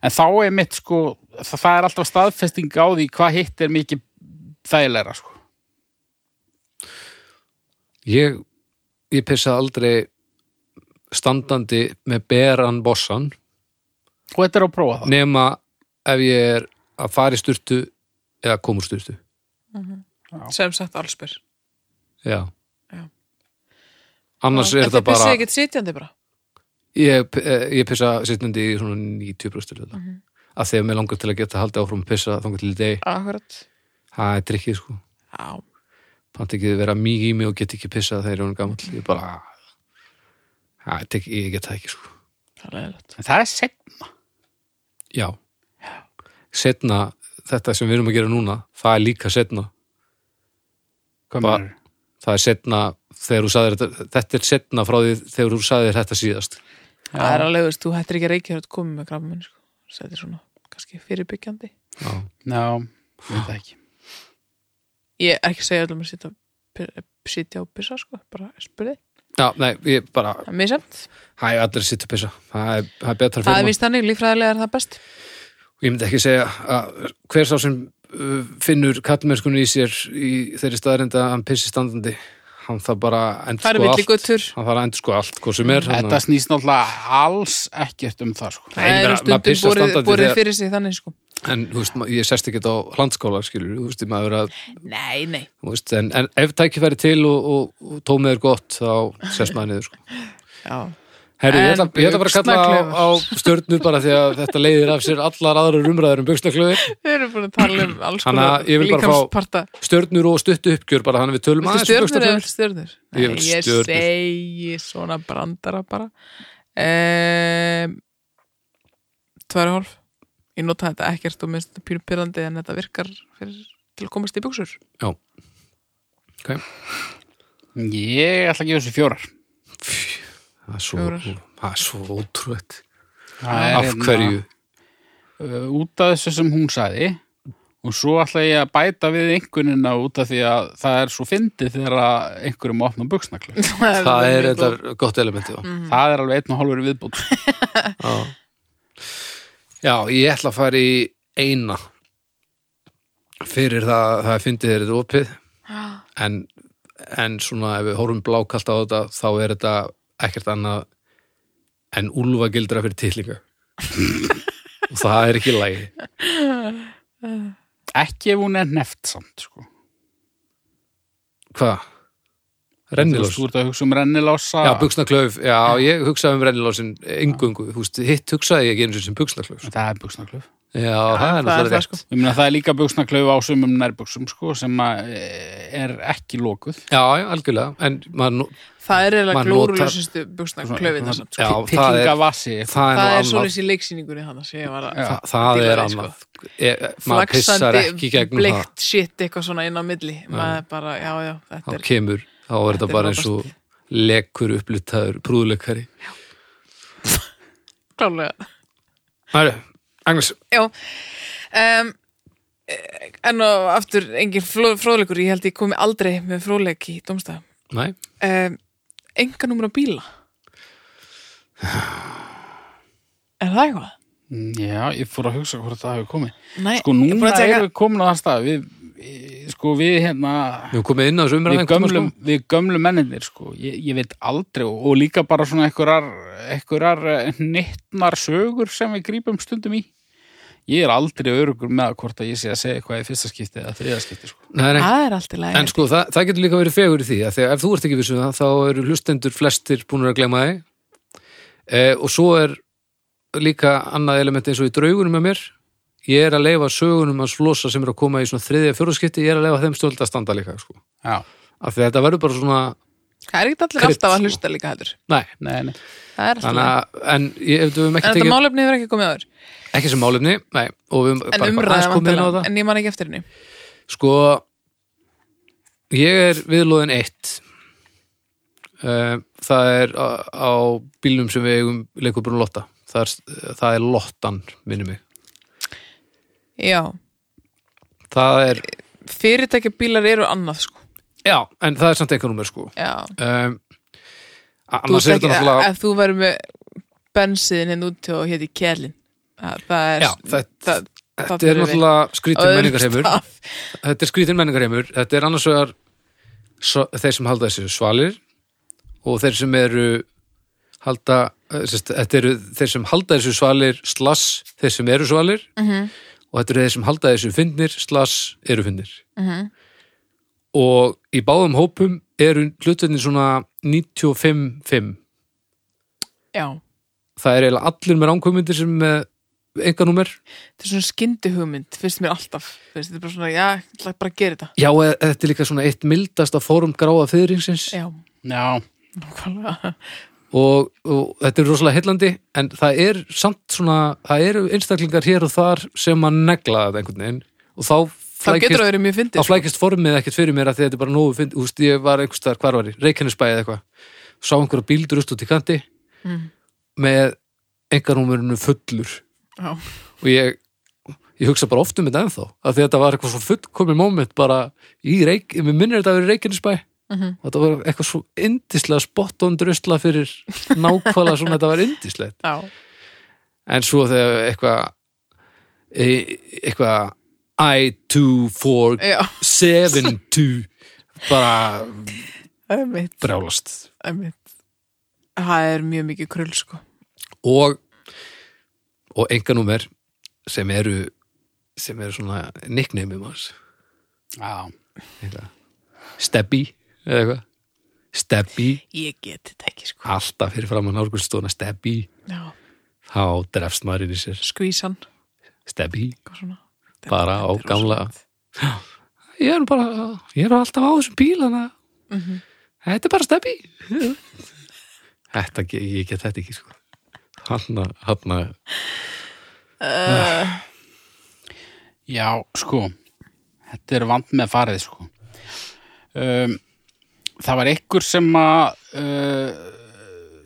[SPEAKER 3] en þá er mitt sko, það, það er alltaf staðfesting á því hvað hitt er mikið þægilegra sko.
[SPEAKER 1] Ég, ég pissa aldrei standandi með beran bossan
[SPEAKER 3] Og þetta er að prófa það.
[SPEAKER 1] nema ef ég er að fara í sturtu eða koma úr sturtu.
[SPEAKER 2] Sem sagt allsbyr.
[SPEAKER 1] Já.
[SPEAKER 2] Já.
[SPEAKER 1] Annars er þetta
[SPEAKER 2] Þetta
[SPEAKER 1] bara,
[SPEAKER 2] er ekkert sitjandi bara.
[SPEAKER 1] ég, eh, ég pissa sittnandi í svona 90% af þetta.
[SPEAKER 3] Mhm.
[SPEAKER 1] Af því að mér langar til að geta haldið áfram að pissa þangar til í deg.
[SPEAKER 2] Akkurat.
[SPEAKER 1] Það er drikkið, sko.
[SPEAKER 2] Já.
[SPEAKER 1] Pant ekki vera mikið í mig og get ekki pissað þegar ég er hún gamall. Ég bara, það, tek, ég get það ekki, sko.
[SPEAKER 2] Það er leðilegt.
[SPEAKER 3] En það er segn.
[SPEAKER 1] Já. Setna, þetta sem við erum að gera núna, það er líka setna.
[SPEAKER 3] Hvað
[SPEAKER 1] Bara-
[SPEAKER 3] meinar?
[SPEAKER 1] Það er setna þegar þú sagðir þetta, þetta er setna frá því þegar þú sagðir þetta síðast.
[SPEAKER 2] Það er alveg, veist, þú hættir ekki að reykja hérna komið með krabbamenn, sko. Svo Þetta er svona, kannski fyrirbyggjandi.
[SPEAKER 1] Já.
[SPEAKER 3] Já, ég veit það ekki.
[SPEAKER 2] Ég er ekki að segja öllum að sitja, pir- sitja og pissa, sko. Bara spurði.
[SPEAKER 1] Já, nei, ég bara,
[SPEAKER 2] Það er mjög semt.
[SPEAKER 1] hæ, allir sitt að pissa. Það er, það er betra fyrir
[SPEAKER 2] Það er
[SPEAKER 1] mann.
[SPEAKER 2] vist þannig, lífræðilega er það best.
[SPEAKER 1] Sko, Ég myndi ekki segja að hver sá sem uh, finnur kallmennskunni í sér í þeirri staðarind að hann pissi standandi hann þarf bara að
[SPEAKER 2] Það
[SPEAKER 1] endur
[SPEAKER 2] er
[SPEAKER 1] sko
[SPEAKER 2] villi
[SPEAKER 1] allt
[SPEAKER 2] guttur.
[SPEAKER 1] hann þarf að endur sko allt hvað sem er
[SPEAKER 3] Þetta snýst náttúrulega alls ekkert um það sko.
[SPEAKER 1] Nei, ég
[SPEAKER 2] Það
[SPEAKER 1] meina,
[SPEAKER 2] eru
[SPEAKER 1] maður
[SPEAKER 2] stundum
[SPEAKER 1] pissar
[SPEAKER 2] borið,
[SPEAKER 1] standandi
[SPEAKER 2] borið
[SPEAKER 1] þegar-
[SPEAKER 2] fyrir sig þannig, sko.
[SPEAKER 1] en þú veist, ma- ég sest ekki á landskóla skilur, þú veist, maður er að
[SPEAKER 2] Nei, nei.
[SPEAKER 1] þú veist, en, en ef tækifæri til og, og, og tómið er gott þá sest maður niður sko.
[SPEAKER 2] Já.
[SPEAKER 1] Herri, ég ætla,
[SPEAKER 2] En
[SPEAKER 1] ég ætla bara að kalla á, á stjörnur bara því að þetta leiðir af sér allar aðrar umræður um buksnaklöfi
[SPEAKER 2] Við erum búin að tala um alls
[SPEAKER 1] Hanna,
[SPEAKER 2] konar
[SPEAKER 1] ég vil bara fá-
[SPEAKER 2] líkamsparta.
[SPEAKER 1] stjörnur og stuttu uppgjör bara þannig við tölum
[SPEAKER 2] Viltu
[SPEAKER 1] um
[SPEAKER 2] stjörnur eða
[SPEAKER 1] buxnaklaufi.
[SPEAKER 2] viltu stjörnur?
[SPEAKER 1] Ég vil
[SPEAKER 2] Nei,
[SPEAKER 1] stjörnur.
[SPEAKER 2] segi svona brandara bara um, Tværi hálf Ég nota þetta ekkert og minnst þetta pínu pyrrandi en þetta virkar fyrir, til að komast í buksur
[SPEAKER 1] Ok.
[SPEAKER 3] Ég ætla að gefa þessu fjórar.
[SPEAKER 1] Það er svo,
[SPEAKER 2] Fjórar.
[SPEAKER 1] það er svo ótrúett
[SPEAKER 3] Það er
[SPEAKER 1] Af
[SPEAKER 3] hérna,
[SPEAKER 1] hverju?
[SPEAKER 3] uh, Út af þessu sem hún sagði og svo ætla ég að bæta við einhvernina út af því að það er svo fyndið þegar að einhverjum opna buksnaklu.
[SPEAKER 1] Það er
[SPEAKER 2] mjög góð.
[SPEAKER 1] þetta gott elementi já.
[SPEAKER 3] Það er alveg einn og hálfur viðbútt.
[SPEAKER 1] Já. Já, ég ætla að fara í eina fyrir það að það fyndi þér þetta opið en, en svona ef við horfum blákalt á þetta þá er þetta ekkert annað en úlfa gildra fyrir titlinga og það er ekki lægi
[SPEAKER 3] Ekki ef hún er neft samt, sko.
[SPEAKER 1] Hvað?
[SPEAKER 3] Þú
[SPEAKER 1] Rennilós?
[SPEAKER 3] veist, þú ert að hugsa um rennilása.
[SPEAKER 2] Ah.
[SPEAKER 1] Já, buksnaklauf, já, ég hugsaði um rennilásin engungu, húst, hitt hugsaði ég ekki eins og sem buksnaklauf.
[SPEAKER 3] Það er buksnaklöf.
[SPEAKER 1] Já, það er
[SPEAKER 2] það er
[SPEAKER 1] náttúrulega
[SPEAKER 2] það
[SPEAKER 1] rétt.
[SPEAKER 2] sko
[SPEAKER 3] Ég meina það er líka buksnaklöf á sumum nærbuksum, sko, sem að e, er ekki lókuð.
[SPEAKER 1] Já, já, algjörlega, en maður,
[SPEAKER 2] Það er eiginlega
[SPEAKER 1] Maður
[SPEAKER 2] glórulösustu buksna klöfið þess
[SPEAKER 1] Já,
[SPEAKER 2] sko.
[SPEAKER 1] það er-
[SPEAKER 3] Pittlinga vassi.
[SPEAKER 1] það er nú
[SPEAKER 2] Það er
[SPEAKER 1] annað,
[SPEAKER 2] svolítið í leiksýningunni hann að segja var að
[SPEAKER 1] það, það
[SPEAKER 2] Dýrari,
[SPEAKER 1] er
[SPEAKER 2] sko.
[SPEAKER 1] annað. Ég, maður pissar ekki
[SPEAKER 2] flaksandi
[SPEAKER 1] gegnum það.
[SPEAKER 2] bleikt shit eitthvað svona inn á milli maður bara, já, já, þetta
[SPEAKER 1] Þá
[SPEAKER 2] er
[SPEAKER 1] kemur, þá er
[SPEAKER 2] Þetta er
[SPEAKER 1] þetta bara eins og lekkur upplitaður, prúðleikari.
[SPEAKER 2] klálega
[SPEAKER 1] Hæru, Agnes,
[SPEAKER 2] já um, en eh, og aftur engin fló- fróðleikur, ég held ég komi aldrei með fróðleik í domstaf
[SPEAKER 1] næ,
[SPEAKER 2] um, enga numur á bíla er það eitthvað?
[SPEAKER 3] Já, ég fór að hugsa hvort það hefur komið.
[SPEAKER 2] Nei, ég er
[SPEAKER 3] Sko,
[SPEAKER 2] búin
[SPEAKER 3] núna
[SPEAKER 2] að teka-
[SPEAKER 3] erum við komin á það stað. Við, e, sko, við hérna...
[SPEAKER 1] við höfum komið inn á þessu
[SPEAKER 3] Við
[SPEAKER 1] umræðan.
[SPEAKER 3] gömlum,
[SPEAKER 2] sko.
[SPEAKER 3] við gömlum menninir sko, ég, ég veit aldrei og, og líka bara svona einhverjar, einhverjar nittnar sögur sem við grípum stundum í. Ég er aldrei örugur með að hvort að ég sé að segja eitthvað í fyrsta skipti eða þriða skipti sko.
[SPEAKER 1] Nei, nei.
[SPEAKER 2] það er allt í lagi
[SPEAKER 1] En sko, það, það getur líka verið fegur í því að þegar ef þú ert ekki vissum það, þá eru hlustendur flestir búinur að glema þig e, og svo er líka annað element eins og í draugunum með mér ég er að leifa sögunum að slosa sem eru að koma í svona þriðja fjóraskipti, ég er að leifa þeim stöld að standa líka, sko.
[SPEAKER 3] Já.
[SPEAKER 1] Af því að þetta verður bara svona
[SPEAKER 2] Það er ekki allir
[SPEAKER 1] Krydd,
[SPEAKER 2] alltaf að
[SPEAKER 1] sko.
[SPEAKER 2] hlusta líka heldur.
[SPEAKER 1] Nei,
[SPEAKER 3] Nei, nei.
[SPEAKER 2] Það er alltaf.
[SPEAKER 1] þannig að, en ég, ef við höfum
[SPEAKER 2] En
[SPEAKER 1] ekki
[SPEAKER 2] þetta
[SPEAKER 1] tekið,
[SPEAKER 2] málefni hefur ekki komið áður.
[SPEAKER 1] ekki sem málefni, nei, og við höfum
[SPEAKER 2] En
[SPEAKER 1] bara
[SPEAKER 2] umræða
[SPEAKER 1] aðeins komið inn á
[SPEAKER 2] væntanlega.
[SPEAKER 1] það.
[SPEAKER 2] En ég man ekki eftir henni.
[SPEAKER 1] Sko, ég er viðlóðin eitt. Uh, það er á, á bílnum sem við eigum leikur brún Lotta. Það er, það er Lottan, minnum mig.
[SPEAKER 2] Já.
[SPEAKER 1] Það er,
[SPEAKER 2] Fyrirtækja bílar eru annað, sko.
[SPEAKER 1] já, en það er samt eitthvað númer, sko.
[SPEAKER 2] Já.
[SPEAKER 1] Um,
[SPEAKER 2] Þú
[SPEAKER 1] annars
[SPEAKER 2] veist
[SPEAKER 1] er
[SPEAKER 2] ekki
[SPEAKER 1] þetta náttúrulega...
[SPEAKER 2] að þú verður með bensin en út og hérna héti Kjellin. Það, það er...
[SPEAKER 1] Já, þetta-
[SPEAKER 2] það,
[SPEAKER 1] Þetta er náttúrulega skrítin menningarheimur Þetta er skrítin menningarheimur Þetta er annars vegar svo, þeir sem halda þessu svalir og þeir sem eru halda, eh, sérst, þetta eru þeir sem halda þessu svalir slass þeir sem eru svalir og þetta eru þeir sem halda þessu fyndnir slass eru fyndnir og í báðum hópum eru hlutinni svona 95-5
[SPEAKER 2] Já,
[SPEAKER 1] það er eiginlega allir með ránkvömyndir sem eh, er með enganúmer
[SPEAKER 2] þetta er svona skyndi hugmynd, finnst mér alltaf. Finnst, þetta er bara svona, já, ég ætla bara að gera þetta.
[SPEAKER 1] Já, e- þetta er líka svona eitt mildasta fórum gráa fyrirringsins
[SPEAKER 2] Já,
[SPEAKER 3] Já,
[SPEAKER 2] nákvæmlega.
[SPEAKER 1] og, og þetta er rosalega heillandi en það er samt svona það eru einstaklingar hér og þar sem að negla þetta einhvern veginn og þá
[SPEAKER 2] Það getur
[SPEAKER 1] flækist,
[SPEAKER 2] að vera mjög
[SPEAKER 1] þá
[SPEAKER 2] fyndið. sko.
[SPEAKER 1] flækist formið ekkert fyrir mér að þetta er bara nógu fynd, úst, ég var einhvers þar, hvar var ég, Reykjanesbæði eða eitthvað sá einhverja bíldrust út í kanti
[SPEAKER 2] Mm.
[SPEAKER 1] með engarnúmerinu fullur
[SPEAKER 2] Já.
[SPEAKER 1] og ég, ég hugsa bara oft um þetta ennþá af því að þetta var eitthvað svo fullkomi moment bara í reik, mér minnir þetta að vera reikinnsbæ mm
[SPEAKER 2] Mhm.
[SPEAKER 1] og þetta var eitthvað svo yndislega spot on drusla fyrir nákvæmlega svona þetta var yndislegt
[SPEAKER 2] Já,
[SPEAKER 1] en svo þegar eitthvað e- eitthvað I, 2, 4,
[SPEAKER 2] já,
[SPEAKER 1] 7, 2 bara
[SPEAKER 2] það er mitt,
[SPEAKER 1] brjálast
[SPEAKER 2] það er mitt. Það er mjög mikið krull, sko.
[SPEAKER 1] og og enganúmer sem eru sem eru svona nickname um hans
[SPEAKER 3] já.
[SPEAKER 1] Stebbi eða eitthvað Stebbi,
[SPEAKER 2] Ég get þetta ekki, sko.
[SPEAKER 1] alltaf fyrir framann árgulstóna Stebbi,
[SPEAKER 2] Já,
[SPEAKER 1] þá drefst maður inn í sér
[SPEAKER 2] skvísan,
[SPEAKER 1] Stebbi,
[SPEAKER 2] hvað svona. Þetta er-
[SPEAKER 1] Bara á
[SPEAKER 2] þetta er
[SPEAKER 1] gamla-
[SPEAKER 2] rosalegt.
[SPEAKER 1] ég er nú bara ég er nú alltaf á þessum bíl hana þetta er bara Stebbi Þetta, ge- ég get þetta ekki sko Hanna, hanna
[SPEAKER 3] Já, sko, þetta er vand með farið, sko. Um, það var einhver sem að uh,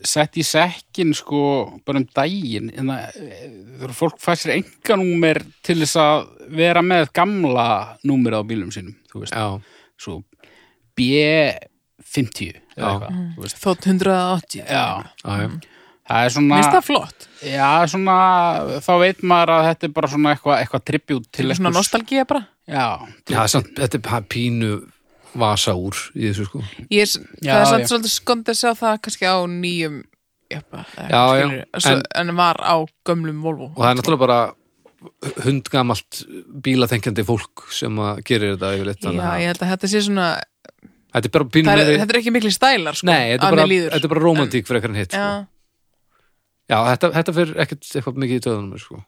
[SPEAKER 3] sett í sekkin, sko, bara um daginn. En það, eh, þegar fólk fær sér enganúmer til þess að vera með gamla númer á bílum sínum, þú veist.
[SPEAKER 1] Já,
[SPEAKER 3] Svo B50 eða
[SPEAKER 1] Já.
[SPEAKER 3] eitthvað,
[SPEAKER 2] Mhm.
[SPEAKER 3] þú veist.
[SPEAKER 2] Þótt 180.
[SPEAKER 3] Já,
[SPEAKER 1] já, já
[SPEAKER 3] það er svona...
[SPEAKER 2] Mér finnst það flott.
[SPEAKER 3] Já, svona, þá veit maður að þetta er bara svona eitthvað eitthva tribut til
[SPEAKER 2] Svona
[SPEAKER 3] einhvers-
[SPEAKER 2] nostalgía bara.
[SPEAKER 3] Já,
[SPEAKER 1] Já, samt, þetta er pa- pínu vasa úr í þessu sko
[SPEAKER 2] ég er,
[SPEAKER 3] Já,
[SPEAKER 2] það er samt
[SPEAKER 3] já. já.
[SPEAKER 2] svolítið skond að sjá það kannski á nýjum jöpa,
[SPEAKER 1] Já, já,
[SPEAKER 2] en, en var á gömlum Volvo
[SPEAKER 1] og það er náttúrulega bara hundgamalt bílatengjandi fólk sem að gerir þetta yfirleitt þannig
[SPEAKER 2] já,
[SPEAKER 1] að-
[SPEAKER 2] ég held að þetta sé svona
[SPEAKER 1] Þetta er bara pínu
[SPEAKER 2] það er,
[SPEAKER 1] meiri-
[SPEAKER 2] þetta er ekki mikli stælar sko,
[SPEAKER 1] Nei, þetta
[SPEAKER 2] að
[SPEAKER 1] er bara,
[SPEAKER 2] mér líður.
[SPEAKER 1] þetta er bara romantík frekar en hitt
[SPEAKER 2] já,
[SPEAKER 1] sko. Já, þetta, þetta fyrir ekkert eitthvað mikið í töðunum sko.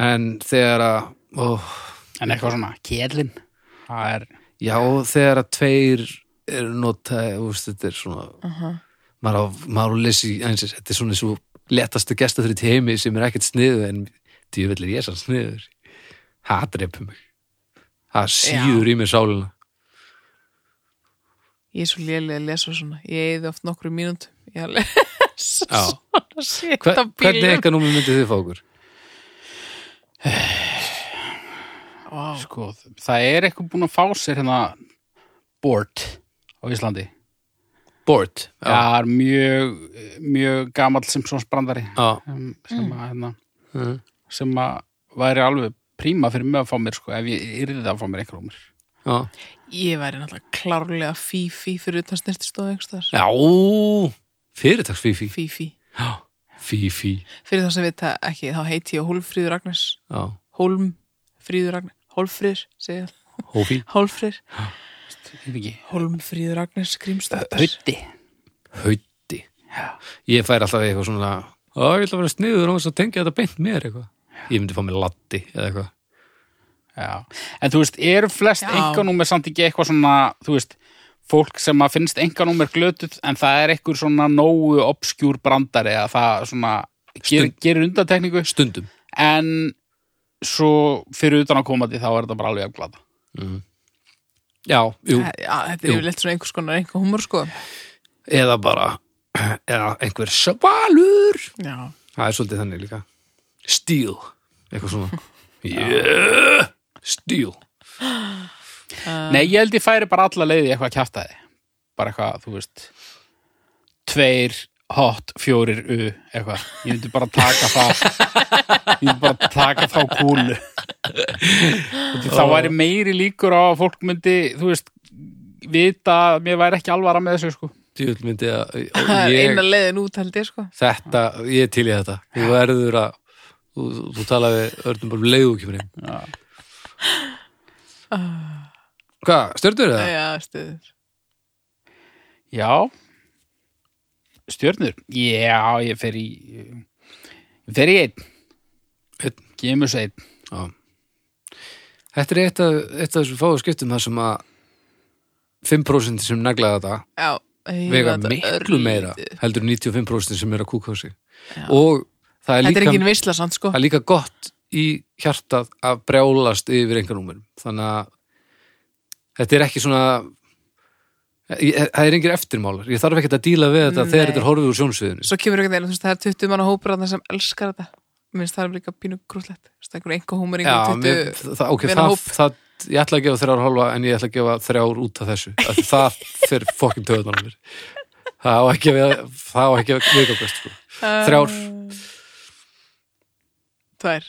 [SPEAKER 1] En þegar að ó,
[SPEAKER 3] en eitthvað svona kjellin það er,
[SPEAKER 1] Já, þegar að tveir eru nota úst, þetta er svona maður á, maður á lesi einsins, þetta er svona svo letasta gesta fyrir heimi sem er ekkert sniðu en djöfell er ég sann sniður Það dreipur mig Það síður í mér sálina
[SPEAKER 2] ég er svo lélega að lesa svona ég eði oft nokkru mínúnd ég er að lesa
[SPEAKER 1] Já.
[SPEAKER 2] svona shit
[SPEAKER 1] Hver,
[SPEAKER 2] á
[SPEAKER 1] Hvernig
[SPEAKER 2] bílum
[SPEAKER 1] eitthvað númur myndið þið fá okkur?
[SPEAKER 2] Vá.
[SPEAKER 3] sko, það er eitthvað búin að fá sér hérna board á Íslandi
[SPEAKER 1] Bored
[SPEAKER 3] Já. það er mjög, mjög gamall Simpsons brandari
[SPEAKER 1] Já.
[SPEAKER 3] um, sem að, hérna,
[SPEAKER 1] Mm.
[SPEAKER 3] sem að væri alveg príma fyrir mig að fá mér sko, ef ég yrði að fá mér einhver rúmur
[SPEAKER 1] Já.
[SPEAKER 2] ég væri náttúrulega klárlega fífí fyrir utan snirtistóð einhverstaðar
[SPEAKER 1] Já, fyrirtaks Fifi
[SPEAKER 2] fífí
[SPEAKER 1] Já, Fifi
[SPEAKER 2] fyrir það sem við það ekki þá heiti ég Hólfríður Agnes
[SPEAKER 1] Já,
[SPEAKER 2] Hólmfríður Agnes Hólfríður, segja
[SPEAKER 1] Hófi
[SPEAKER 2] Hólfríður
[SPEAKER 3] ekki,
[SPEAKER 2] Holmfríður Agnes
[SPEAKER 1] Eh,
[SPEAKER 2] Grímsdóttir
[SPEAKER 3] hauti
[SPEAKER 1] Hauti Ég fær alltaf eitthvað svona Ó, ég ætla að vera sniður og þess að tengja þetta beint mér eitthvað Ég myndi fá mér Latti eða eitthvað
[SPEAKER 3] Já, en þú veist, eru flest
[SPEAKER 2] Já.
[SPEAKER 3] einhvernúmer samt ekki eitthvað svona, þú veist, fólk sem að finnst enganúmer glötuð en það er einhver svona nógu obskjúr brandari að það svona ger,
[SPEAKER 1] Stund-
[SPEAKER 3] gerir undantekningu
[SPEAKER 1] stundum
[SPEAKER 3] en svo fyrir utan að koma því þá er þetta bara alveg að glata
[SPEAKER 1] já, jú,
[SPEAKER 2] Eh, Já, þetta er
[SPEAKER 1] Jú.
[SPEAKER 2] yfirleitt svona einhvers konar einhver humor sko
[SPEAKER 1] eða bara eða einhver svalur
[SPEAKER 2] Já,
[SPEAKER 1] það er svolítið þannig líka stíl, eitthvað svona yeah, stíl
[SPEAKER 3] Nei, ég held ég færi bara alla leiði eitthvað að kjafta þið bara eitthvað, þú veist tveir, hot, fjórir, u eitthvað, ég myndi bara taka það ég myndi bara taka þá kúlu Þú- þá væri meiri líkur á að fólk myndi, þú veist vita að mér væri ekki alvara með þessu sko.
[SPEAKER 1] djúl myndi að
[SPEAKER 2] það er
[SPEAKER 1] ég,
[SPEAKER 2] eina leiðin út held ég sko
[SPEAKER 1] þetta, ég er til í þetta þú verður að þú, þú- þú talaði örnum bara um leiðu kemur heim hvað, stjörnur það?
[SPEAKER 2] Já, stuður
[SPEAKER 3] Já Stjörnur? Já, ég fer í ég fer í einn
[SPEAKER 1] Einn.
[SPEAKER 3] Gemus einn
[SPEAKER 1] Já. þetta er eitt af, eitt af þessum fáu skiptum þar sem að 5% sem naglaði þetta
[SPEAKER 2] Já, ég
[SPEAKER 1] vega
[SPEAKER 2] var þetta
[SPEAKER 1] miklu
[SPEAKER 2] örlítið.
[SPEAKER 1] meira heldur en 95% sem er að kúka á sig
[SPEAKER 2] Já.
[SPEAKER 1] og það er,
[SPEAKER 2] Þetta er
[SPEAKER 1] líka,
[SPEAKER 2] engin veisla samt sko
[SPEAKER 1] það er líka gott í hjartað að brjálast yfir einhvernúmerum þannig að þetta er ekki svona ég- það er engir eftirmálar ég þarf ekkert að díla við þetta
[SPEAKER 2] Mm, Nei.
[SPEAKER 1] þegar þetta er horfið úr sjónsviðinu
[SPEAKER 2] Svo kemur einhvern veginn, þú veist, það er 20 manna hópur þarna sem elskar þetta Mér finnst það er líka pínu grútlegt Þú veist, einhver einhver humor,
[SPEAKER 1] Já,
[SPEAKER 2] einhver
[SPEAKER 1] mér,
[SPEAKER 2] 20
[SPEAKER 1] það, ok,
[SPEAKER 2] vina
[SPEAKER 1] það,
[SPEAKER 2] hóp.
[SPEAKER 1] það, ég ætla að gefa þrjár hálfa en ég ætla að gefa þrjár út af þessu Af því það fyrir fokkin töðunar mér það á ekki að það á ekki að viðgangast sko.
[SPEAKER 2] Um,
[SPEAKER 1] þrjár,
[SPEAKER 2] Tvær,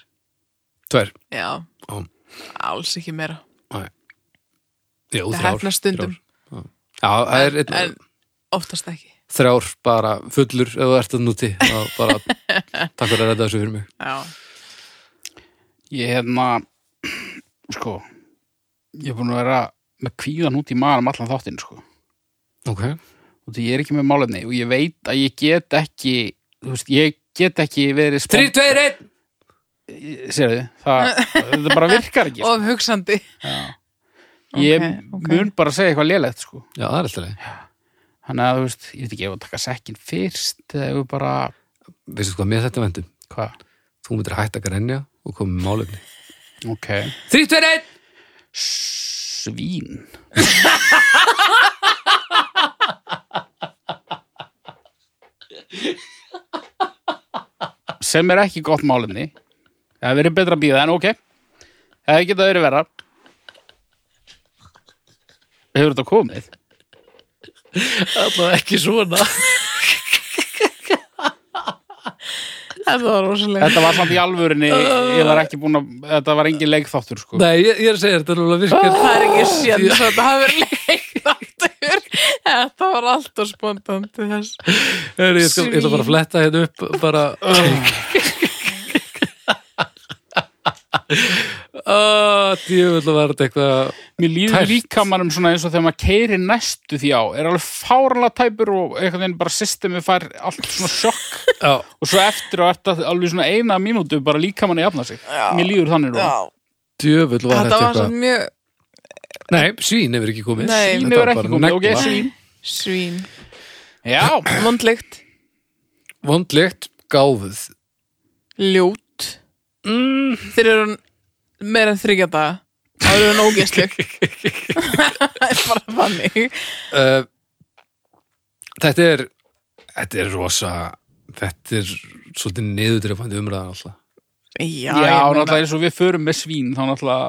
[SPEAKER 1] tvær
[SPEAKER 2] já
[SPEAKER 1] Já.
[SPEAKER 2] Alls ekki meira
[SPEAKER 1] Jú,
[SPEAKER 2] Það
[SPEAKER 1] þrjár,
[SPEAKER 2] hefnast stundum.
[SPEAKER 1] þrjár. Já, það er einn,
[SPEAKER 2] En oftast ekki
[SPEAKER 1] þrjár bara fullur ef þú ert að núti og bara takk fyrir að redda þessu fyrir mig
[SPEAKER 2] Já,
[SPEAKER 3] Ég hérna sko ég er búin að vera með kvíðan út í maður um allan þáttinn sko
[SPEAKER 1] Ok,
[SPEAKER 3] og því ég er ekki með málefni og ég veit að ég get ekki þú veist, ég get ekki verið spon-
[SPEAKER 1] 3, 2, 1
[SPEAKER 3] sérðu, það, það bara virkar ekki sko.
[SPEAKER 2] of hugsandi
[SPEAKER 3] ég
[SPEAKER 2] ok, ok.
[SPEAKER 3] mun bara segja eitthvað lélegt sko
[SPEAKER 1] Já, það er alltaf leið
[SPEAKER 3] þannig að þú veist, ég veit ekki ef að taka sekkin fyrst eða ef við bara,
[SPEAKER 1] Veistu hvað mér þetta vendum?
[SPEAKER 3] hvað,
[SPEAKER 1] Þú myndir hætt að grenja og koma með málefni
[SPEAKER 3] ok
[SPEAKER 1] 3, 2, 1
[SPEAKER 3] svín sem er ekki gott málefni það hefur verið betra að býða en ok það hefur getað verið vera hefur þetta komið
[SPEAKER 1] Alltaf ekki svona
[SPEAKER 2] Það var rosalega
[SPEAKER 3] þetta var samt í alvörinni ég var ekki búin að, þetta var engin leikþáttur sko.
[SPEAKER 1] Nei, ég, ég er að segja þetta er alveg virkar
[SPEAKER 2] Það er ekki sjans að það hafi verið leikt aftur. Þetta var alltaf spontan til þess.
[SPEAKER 1] Heru, ég, skal, ég ætla bara að fletta hérna upp bara Ah, djöfull var þetta eitthvað
[SPEAKER 3] mér líður
[SPEAKER 1] Tært.
[SPEAKER 3] líka mannum svona eins og þegar maður keiri næstu því á er alveg fárlega tæpur og einhvern veginn bara systemi fær allt svona sjokk
[SPEAKER 1] Já,
[SPEAKER 3] og svo eftir og eftir alveg svona eina mínútu bara líka manni jafna sig mér líður þannig nú
[SPEAKER 1] djöfull var
[SPEAKER 2] Þetta
[SPEAKER 1] þetta
[SPEAKER 2] var svo
[SPEAKER 1] eitthvað
[SPEAKER 2] mjög
[SPEAKER 1] Nei, svín hefur ekki komið
[SPEAKER 2] Nei.
[SPEAKER 1] Þetta
[SPEAKER 3] Svín hefur
[SPEAKER 1] var
[SPEAKER 3] ekki
[SPEAKER 1] bara
[SPEAKER 3] komið, ok,
[SPEAKER 1] negla.
[SPEAKER 3] svín
[SPEAKER 2] svín.
[SPEAKER 3] Já,
[SPEAKER 2] Mondlegt,
[SPEAKER 1] Vondlegt, gáfuð
[SPEAKER 2] ljót.
[SPEAKER 1] mm,
[SPEAKER 2] Þeir eru meira en þryggja daga. Það eru hann ógæstlegt. Það er bara þannig.
[SPEAKER 1] uh, Þetta er Þetta er rosa Þetta er svolítið niðurdreifandi umræðan alltaf
[SPEAKER 2] Já,
[SPEAKER 3] já, náttúrulega eins og við förum með svín þá náttúrulega,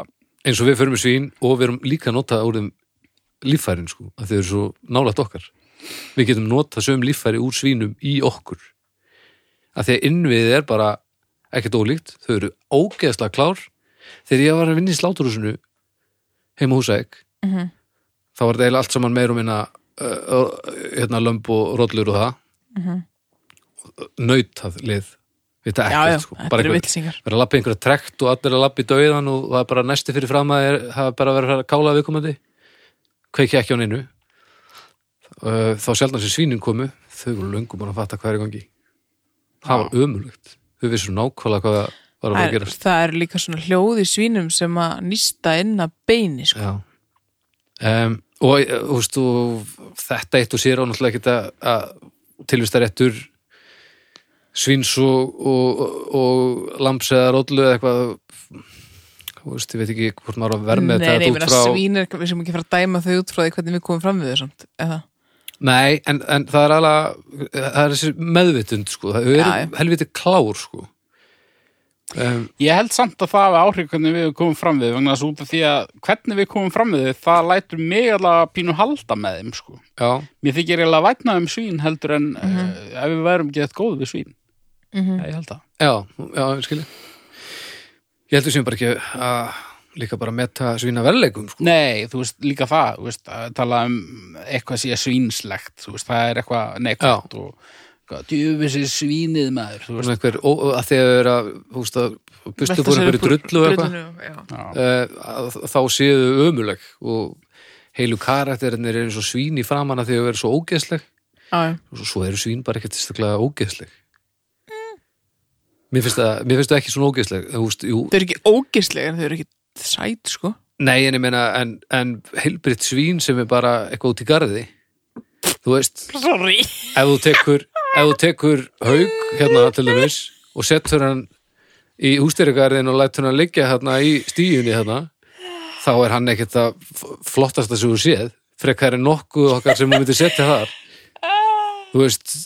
[SPEAKER 1] eins og við förum með svín og við erum líka að nota úr þeim líffærin sko, að þau eru svo nálægt okkar við getum notað sögum líffæri úr svínum í okkur að því að innviðið er bara ekkert ólíkt, þau eru ógeðslega klár þegar ég var að vinna í sláturhúsinu heima á húsæk
[SPEAKER 2] Mhm.
[SPEAKER 1] þá var þetta eiginlega allt saman meir og minna uh, uh, hérna lömb og rollur og það -hmm. nautað lið við þetta
[SPEAKER 2] Mhm. já,
[SPEAKER 1] ekkert
[SPEAKER 2] já,
[SPEAKER 1] sko,
[SPEAKER 2] þetta
[SPEAKER 1] bara
[SPEAKER 2] eru
[SPEAKER 1] eitthvað-
[SPEAKER 2] vitsingar.
[SPEAKER 1] vera að lappa einhverja trekt og allir að lappa í dauðan og það er bara næsti fyrir fram að er, það er bara að vera að kála viðkomandi kveiki ekki á neinu Uh, þá sjaldan sem svínin komu þau voru löngum búin að fatta hvað er í gangi það var ömulegt þau vissu nákvæmlega hvað það var að vera að
[SPEAKER 2] Það,
[SPEAKER 1] gerast
[SPEAKER 2] það eru líka svona hljóð í svínum sem að nýsta inn að beini, sko.
[SPEAKER 1] Já um, og eh, þú veist, og þetta eitt og sér á náttúrulega ekki að, að tilvistaréttur svins og, og, og lamps eða rollu eða eitthvað þú veist, ég veit ekki hvort maður á að vera með
[SPEAKER 2] nei, nei,
[SPEAKER 1] þetta
[SPEAKER 2] ég
[SPEAKER 1] út
[SPEAKER 2] meina
[SPEAKER 1] frá
[SPEAKER 2] svínir, við sem ekki fara að dæma þau út frá því hvernig við komum fram við þau samt, eða
[SPEAKER 1] Nei, en, en það er alveg það er þessi meðvitund sko það er
[SPEAKER 2] Já, já.
[SPEAKER 1] helviti klár sko um,
[SPEAKER 3] Ég held samt að það hafi áhrif hvernig við komum fram við vegna þess út af því að hvernig við komum fram við það lætur mig allavega pínu halda með þeim sko.
[SPEAKER 1] Já,
[SPEAKER 3] Mér þykir eiginlega vætna um svín heldur en mm ef við værum gett góð við svín.
[SPEAKER 2] Mhm.
[SPEAKER 3] Ég held það.
[SPEAKER 1] já, já, ég skilji Ég heldur sem bara ekki að líka bara metta svína verðleikum sko
[SPEAKER 3] Nei, þú veist, líka það, þú veist, að tala um eitthvað sé svínslegt, þú veist, það er eitthvað neikvæmt og djöfisir svínið maður, þú veist.
[SPEAKER 1] Svona einhver, ó, að þegar þau eru að, þú veist, að bustu fór einhverju drullu og eitthvað
[SPEAKER 2] eitthvað
[SPEAKER 3] Já.
[SPEAKER 1] eh, að þá séu þau ömuleg og heilu karakterinir eru svo svín í framan að þau eru svo ógeðsleg og svo- svo eru svín bara ekkert staklega ógeðsleg Mér finnst það, mér finnst það ekki svona ógeðsleg þú veist, jú,
[SPEAKER 2] þau eru ekki ógislega en þau eru ekki sæt sko
[SPEAKER 1] Nei, en ég meina, en, en heilbritt svín sem er bara eitthvað út í garði Þú veist,
[SPEAKER 2] sorry
[SPEAKER 1] ef þú tekur, ef þú tekur haug hérna til dæmis og settur hann í hústýrigarðin og lætur hann liggja hérna í stíunni hérna þá er hann ekkert að flottasta sem þú séð frekar en nokkuð okkar sem hún myndi setja þar Þú veist,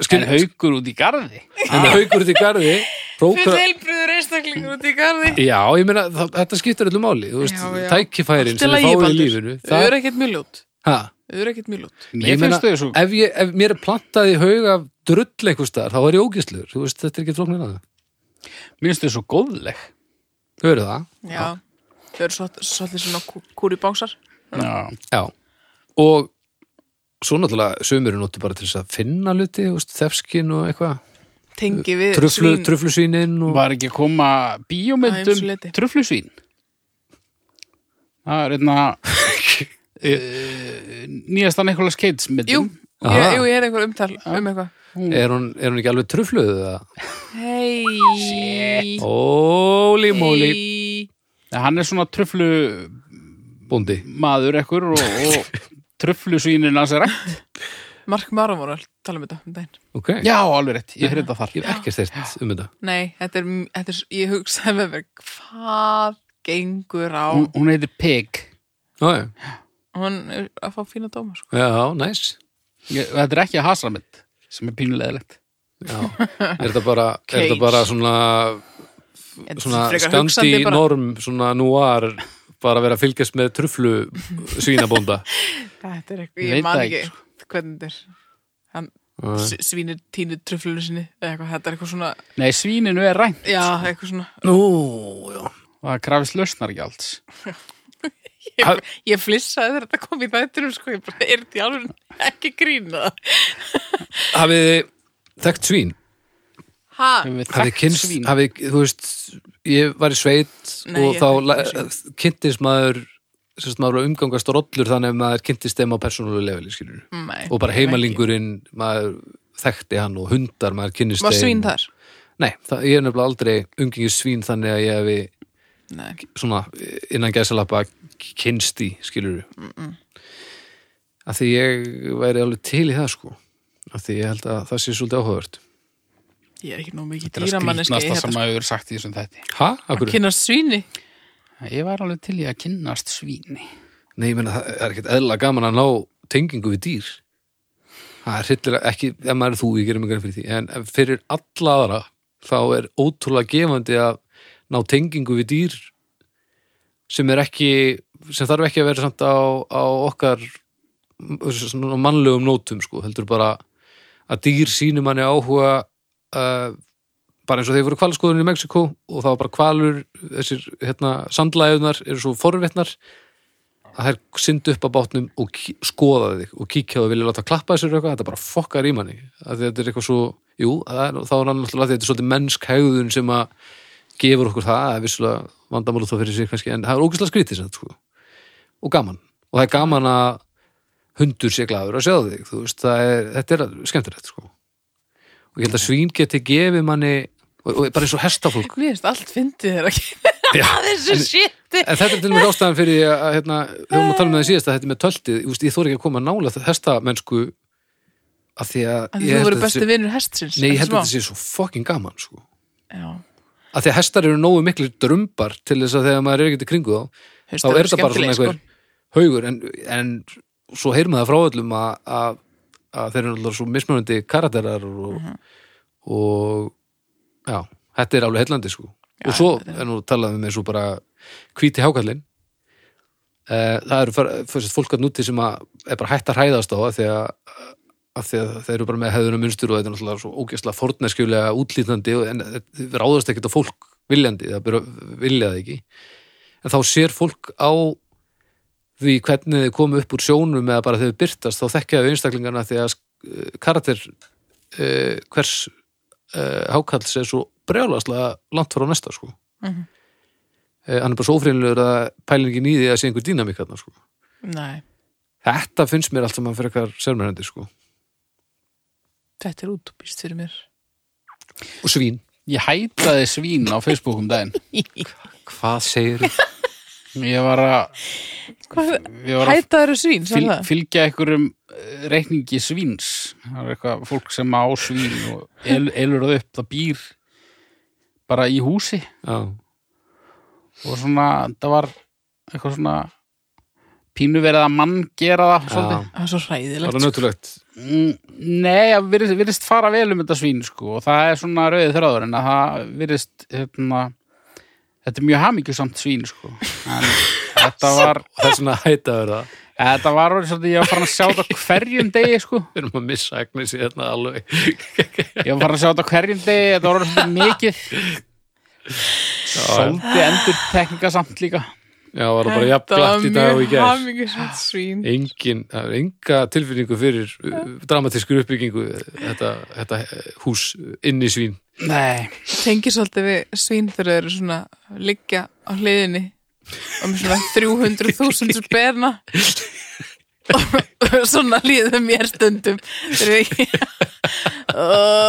[SPEAKER 3] En
[SPEAKER 1] skil,
[SPEAKER 3] haukur út í garði.
[SPEAKER 1] en haugur út í garði
[SPEAKER 2] fyrir
[SPEAKER 1] prókra,
[SPEAKER 2] helbriður einstaklingur út í garði
[SPEAKER 1] Já, ég meina, það, þetta skiptir öllu máli, þú veist,
[SPEAKER 2] Já, já.
[SPEAKER 1] tækifærin
[SPEAKER 2] Allt í
[SPEAKER 1] sem
[SPEAKER 2] lagi,
[SPEAKER 1] við fáum í
[SPEAKER 2] Baldur.
[SPEAKER 1] lífinu
[SPEAKER 2] þau eru ekkert mjög ljót
[SPEAKER 1] ha?
[SPEAKER 2] þau eru ekkert mjög ljót
[SPEAKER 1] Ég
[SPEAKER 3] Mér
[SPEAKER 1] meina,
[SPEAKER 3] finnst þau svo
[SPEAKER 1] ef, ég, ef mér er plantað í haug af drull einhvers staðar, þá er ég ógæslegur þú veist, þetta er ekki flóknir að það
[SPEAKER 3] Mér finnst þau svo góðleg.
[SPEAKER 1] Þau eru það,
[SPEAKER 2] já þau eru svol- svolítið svona kú- kúribánsar
[SPEAKER 3] Já.
[SPEAKER 1] já og svo náttúrulega sömur er nóttu bara til þess að finna luti, þú veist, þefskin og eitthvað
[SPEAKER 2] tengi við
[SPEAKER 1] Truflu,
[SPEAKER 2] Eh, svín.
[SPEAKER 1] truflusvínin og
[SPEAKER 3] Var ekki að koma
[SPEAKER 2] Að ýmsu
[SPEAKER 3] bíómyndum
[SPEAKER 2] leyti.
[SPEAKER 3] truflusvín? Það er einna uh, nýjasta Nikolas Cage
[SPEAKER 2] jú,
[SPEAKER 3] myndum.
[SPEAKER 2] ég,
[SPEAKER 1] Aha.
[SPEAKER 2] jú, ég er einhver umtal um eitthvað
[SPEAKER 1] er hún, er hún ekki alveg trufluð það?
[SPEAKER 2] hei
[SPEAKER 1] Óli móli
[SPEAKER 3] Hann er svona truflumadur
[SPEAKER 1] bóndi
[SPEAKER 3] ekkur og, og truflusvínin hans er rætt.
[SPEAKER 2] Mark Maron var að tala um þetta um daginn
[SPEAKER 1] ok,
[SPEAKER 3] Já, alveg rétt. Ég hreita þar.
[SPEAKER 1] ég hef ekki stert um þetta
[SPEAKER 2] nei, þetta er, þetta er ég hugsaði með mér hvað gengur á
[SPEAKER 3] Hún, hún heitir Pig.
[SPEAKER 1] já, já,
[SPEAKER 2] hún er að fá fína dóma sko.
[SPEAKER 1] já, næs
[SPEAKER 3] Ég, þetta er ekki að hasra mynd sem er pínulegilegt.
[SPEAKER 1] já, er þetta bara, er
[SPEAKER 2] Cage.
[SPEAKER 1] þetta bara svona
[SPEAKER 2] Þetta er
[SPEAKER 1] svona
[SPEAKER 2] frekar
[SPEAKER 1] skandi
[SPEAKER 2] hugsandi bara-
[SPEAKER 1] norm svona núar bara vera að fylgjast með truflu svínabónda
[SPEAKER 2] þetta er
[SPEAKER 3] Ég
[SPEAKER 2] eitthvað,
[SPEAKER 3] veit
[SPEAKER 2] ég man
[SPEAKER 3] það
[SPEAKER 2] ekki
[SPEAKER 3] ekki,
[SPEAKER 1] sko.
[SPEAKER 2] hvernig þetta er S- svínir tínir tröflunum sinni eða eitthvað, þetta er eitthvað svona
[SPEAKER 3] Nei, svíninu er rænt.
[SPEAKER 2] já, eitthvað svona,
[SPEAKER 1] Nú, já
[SPEAKER 3] Það krafist lausnargjalds.
[SPEAKER 1] Ha-
[SPEAKER 2] ég, ég flissaði þegar þetta kom í þættinum sko, ég bara, er þetta í alveg ekki grína
[SPEAKER 1] Hafið þið þekkt svín?
[SPEAKER 2] ha,
[SPEAKER 3] Hefur
[SPEAKER 1] Hafið
[SPEAKER 3] við
[SPEAKER 1] þið
[SPEAKER 3] þekkt
[SPEAKER 1] kynst,
[SPEAKER 3] svín?
[SPEAKER 1] hafið, þú veist ég var í sveit
[SPEAKER 2] Nei,
[SPEAKER 1] og
[SPEAKER 2] ég
[SPEAKER 1] þá
[SPEAKER 2] þekki
[SPEAKER 1] la-
[SPEAKER 2] ekki
[SPEAKER 1] kynntist maður sérst maður var að umgangast rollur þannig að maður kynntist þeim á persónulegu leveli skilur
[SPEAKER 2] nei,
[SPEAKER 1] og bara heimalingurinn maður þekkti hann og hundar maður kynnist
[SPEAKER 2] var svín þar
[SPEAKER 1] Nei, það, ég er nefnilega aldrei umgengið svín þannig að ég hefi
[SPEAKER 2] nei,
[SPEAKER 1] svona innan gæsalappa kynst í, skilur mm að því ég væri alveg til í það sko að því ég held að það sé svolítið áhugavert
[SPEAKER 2] ég er ekki nóg mikið
[SPEAKER 3] Þetta er að
[SPEAKER 2] dýramanneski
[SPEAKER 3] skrýtnasta sem að hefur sagt í þessum þætti.
[SPEAKER 1] ha? Akkur?
[SPEAKER 2] að kynna sko svíni
[SPEAKER 3] Ég var alveg til í að kynnast svíni.
[SPEAKER 1] Nei, ég meina það er ekkert eðla gaman að ná tengingu við dýr það er hryllilega ekki, ef maður er þú, ég gerum ykkur fyrir því en fyrir alla aðra þá er ótrúlega gefandi að ná tengingu við dýr sem er ekki sem þarf ekki að vera samt á, á okkar svona mannlegum nótum sko, heldur bara að dýr sínum manni áhuga uh, bara eins og þeir voru kvalskoðun í Mexiko og það var bara kvalur þessir hérna, sandlæðunar eru svo forvittnar að þær syndu upp á bátnum og kí- skoða þig og kíkja og vilja láta klappa þessir eitthvað, þetta bara fokkar í manni að þetta er eitthvað svo, jú, það er, þá er hann alltaf að þetta er svolítið mennsk hegðun sem að gefur okkur það, það er vissulega vandamálu þá fyrir sér kannski, en það er ógæslega skrítið sem, sko. og gaman og það er gaman að hundur sé glaður að sjá þig, þú veist, það er, þetta er skemmtilegt, sko og ég held að svín geti gefið manni og, og bara eins og hestafólk
[SPEAKER 2] mér finnst allt fyndið þeirra að kynna
[SPEAKER 1] Já.
[SPEAKER 2] þessu shiti
[SPEAKER 1] En þetta er til og með ástæðan fyrir því að hérna, við vorum að tala um það síðast að þetta er með töltið, ég, veist, ég þóri ekki að koma nála þetta mennsku að því að,
[SPEAKER 2] En
[SPEAKER 1] ég
[SPEAKER 2] þú
[SPEAKER 1] held
[SPEAKER 2] verður
[SPEAKER 1] að þetta
[SPEAKER 2] besti
[SPEAKER 1] sé-
[SPEAKER 2] vinur hestsins
[SPEAKER 1] Nei, ég held að
[SPEAKER 2] þetta
[SPEAKER 1] þetta sé svo fucking gaman sko.
[SPEAKER 2] Já,
[SPEAKER 1] að því að hestar eru nógu miklu drömbar til þess að þegar maður er ekkert í kringu þá þá
[SPEAKER 2] haustar
[SPEAKER 1] er
[SPEAKER 2] eru
[SPEAKER 1] þetta bara svona
[SPEAKER 2] skemmtileg,
[SPEAKER 1] einhver haugur en, en svo heyrum við það frá öllum að, að, að þeir eru alltaf svo mismunandi karakterar og, og já, þetta er alveg heillandi sko. og svo, en nú talaðum við með svo bara hvíti hákallinn eh, það eru fara- fyrst fólk að núti sem að er bara hætt að hræðast á af því að af því að þeir eru bara með hefðunum munstur og þetta er náttúrulega svo ógæslega forneskjulega útlítandi og- en þeir ráðast ekkert á fólk viljandi, það byrja vilja það ekki en þá sér fólk á því hvernig þau komu upp úr sjónum eða bara þau byrtast, þá þekkja þau einstaklingarna því að eh, karakter uh, hvers uh, hákalls er svo brjálaslega langt frá næsta sko
[SPEAKER 2] Mhm.
[SPEAKER 1] Eh, hann er bara svo ófrýnlegur að pælingin í því að sé einhver dýnamík þarna sko
[SPEAKER 2] sko. Nei,
[SPEAKER 1] þetta finnst mér allt saman fyrir eitthvað sérmennandi sko
[SPEAKER 2] þetta er útúpist fyrir mér
[SPEAKER 1] og svín
[SPEAKER 3] Ég hætaði svín á Facebook um daginn.
[SPEAKER 1] Hvað segir þú?
[SPEAKER 3] Ég var að,
[SPEAKER 2] Hvað,
[SPEAKER 3] ég var að
[SPEAKER 2] hætaður svín,
[SPEAKER 3] fyl,
[SPEAKER 2] sagði það
[SPEAKER 3] fylgja einhverjum eh, reikningi svíns. Það er eitthvað fólk sem á svín og el, elur það upp, það býr bara í húsi
[SPEAKER 1] Já,
[SPEAKER 3] og svona, það var eitthvað svona pínu verið að mann gera það svolítið.
[SPEAKER 2] Það er svo hræðilegt sko.
[SPEAKER 1] bara nötulegt
[SPEAKER 3] Mm, Nei, það virðist, virðist fara vel um þetta svín sko og það er svona rauðið þröður en að það virðist hérna, þetta er mjög hamingjusamt svín sko en þetta var
[SPEAKER 1] og það er svona hætt að vera
[SPEAKER 3] þetta var orðið svolítið, ég var farin að sjá þetta á hverjum degi sko,
[SPEAKER 1] við erum að missa Agnesi hérna alveg
[SPEAKER 3] ég var farin að sjá þetta á hverjum degi þetta var orðið svolítið mikið svolítið endur tekningasamt líka
[SPEAKER 1] Já, var það bara jafn glatt í dag og í gær
[SPEAKER 2] hamingisvæmt svín
[SPEAKER 1] Engin, það er enga tilfinningu fyrir uh, dramatískur uppbyggingu uh, þetta, þetta uh, hús uh, inn í svín
[SPEAKER 3] Nei,
[SPEAKER 2] Tengir svolítið við svín þegar þau eru svona liggja á hliðinni og með svona 300.000 sperna og svona líður mér stundum þegar ég ekki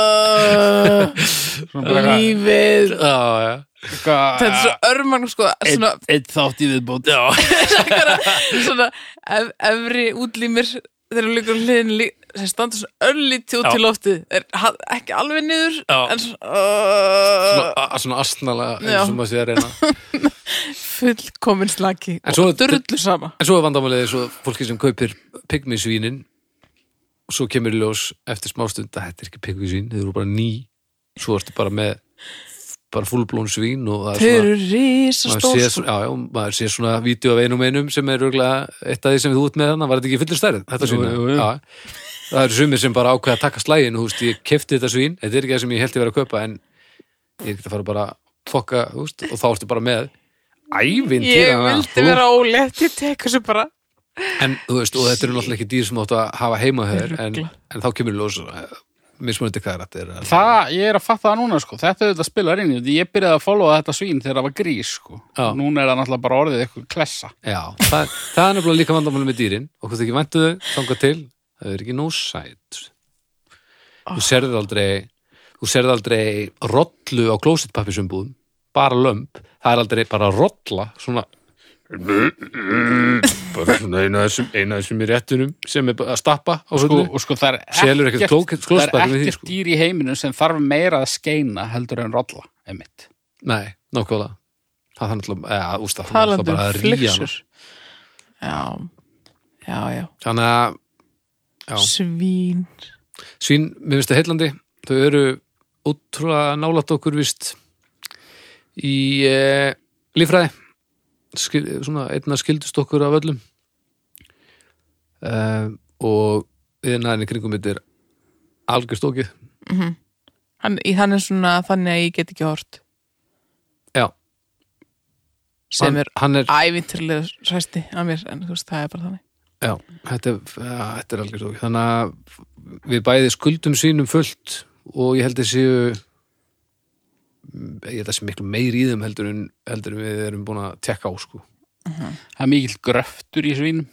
[SPEAKER 2] oh,
[SPEAKER 3] svona bara eitthvað-
[SPEAKER 2] lífið
[SPEAKER 1] Já, já,
[SPEAKER 3] eitthvað
[SPEAKER 2] þetta er svo örmann sko svona,
[SPEAKER 3] einn- einn þátt í viðbót Já,
[SPEAKER 2] svona ef, efri útlýmir þegar þú liggur á hliðinni lí- sem standa svona öllítið út
[SPEAKER 1] Já.
[SPEAKER 2] til loftið er ha- ekki alveg niður
[SPEAKER 1] Já.
[SPEAKER 2] en svona
[SPEAKER 1] svona,
[SPEAKER 2] oh,
[SPEAKER 1] a- svona astnalega
[SPEAKER 2] Já.
[SPEAKER 1] eins og maður sé að reyna
[SPEAKER 2] fullkomin slaki
[SPEAKER 1] En svo-
[SPEAKER 2] og drullu sama
[SPEAKER 1] En svo er vandamálið svo fólki sem kaupir pygmisvínin og svo kemur í ljós eftir smástund að þetta er ekki pygmisvín, þau eru bara ný svo ertu bara með bara fullblón svín og það er
[SPEAKER 2] Þau
[SPEAKER 1] svona-
[SPEAKER 2] eru risastór
[SPEAKER 1] maður sé,
[SPEAKER 2] sko.
[SPEAKER 1] svona, já, já, maður sé svona vídeo af einum einum sem er örgulega eitt af því sem þú út með hann, var þetta ekki fullur stærð þetta
[SPEAKER 3] Jú,
[SPEAKER 1] svín,
[SPEAKER 3] jú, jú.
[SPEAKER 1] já það eru sumir sem bara ákveða að taka slægin þú veist, ég kefti þetta svín, þetta er ekki það sem ég held ég verið að kaupa en ég er ekki að fara bara að fokka, þú veist, og þá ertu bara með ævinn
[SPEAKER 2] Ég vildi vera ólétt, ég tek þessu bara
[SPEAKER 1] en þú veist, og þetta eru náttúrulega ekki dýr sem áttu að hafa heima hér, en,
[SPEAKER 2] Örugglega.
[SPEAKER 1] en þá kemur ljós eh, mismunandi hvað þetta er
[SPEAKER 3] Það, ég er að fatta það núna sko, þetta auðvitað spilar inn í því ég byrjaði að followa þetta svín þegar það var grís sko,
[SPEAKER 1] Já.
[SPEAKER 3] núna er það náttúrulega bara orðið eitthvað klessa.
[SPEAKER 1] já, það, það er nefnilega líka vandamálum með dýrin okkur þau ekki væntu þau, þangað til það er ekki nóg sæt
[SPEAKER 3] Ah.
[SPEAKER 1] þú serði aldrei þú serði aldrei rollu á klósitpappisumbúðum, bara lömb það er aldrei bara rolla svona bara svona eina þessum, eina þessum í réttunum sem er bara að stappa á
[SPEAKER 3] Sko,
[SPEAKER 1] höllu
[SPEAKER 3] og sko það er
[SPEAKER 1] Selur ekkert kló-
[SPEAKER 3] það er
[SPEAKER 1] klósettpappír með því,
[SPEAKER 3] ekkert
[SPEAKER 1] sko.
[SPEAKER 3] dýr í heiminum sem þarf meira að skeina heldur en rolla, emitt.
[SPEAKER 1] nei, nákvæmlega það er náttúrulega, eða, úst, það er náttúrulega
[SPEAKER 2] talandi
[SPEAKER 1] bara
[SPEAKER 2] um
[SPEAKER 1] að ríja hana.
[SPEAKER 2] flyksur Já, já, já,
[SPEAKER 1] þannig að Já.
[SPEAKER 2] svín
[SPEAKER 1] svín, mér finnst það heillandi þau eru ótrúlega nálætt okkur vist í e, lífræði Skil, svona einna skildust okkur af öllum e, og viðnaðinni kringum þetta er algjör stókið
[SPEAKER 2] hann, í- hann er svona þannig að ég get ekki hort
[SPEAKER 1] já,
[SPEAKER 2] sem
[SPEAKER 1] hann,
[SPEAKER 2] er
[SPEAKER 1] hann er
[SPEAKER 2] ævinturlega sæsti að mér, en þú veist, það er bara þannig
[SPEAKER 1] já, þetta, er- ja, þetta er algjör stókið þannig að við bæði skuldum svínum fullt og ég held að séu ég held að sé miklu meiri í þeim heldur en, heldur en við erum búin að tekka á sko
[SPEAKER 3] Það er mikill gröftur í svínum,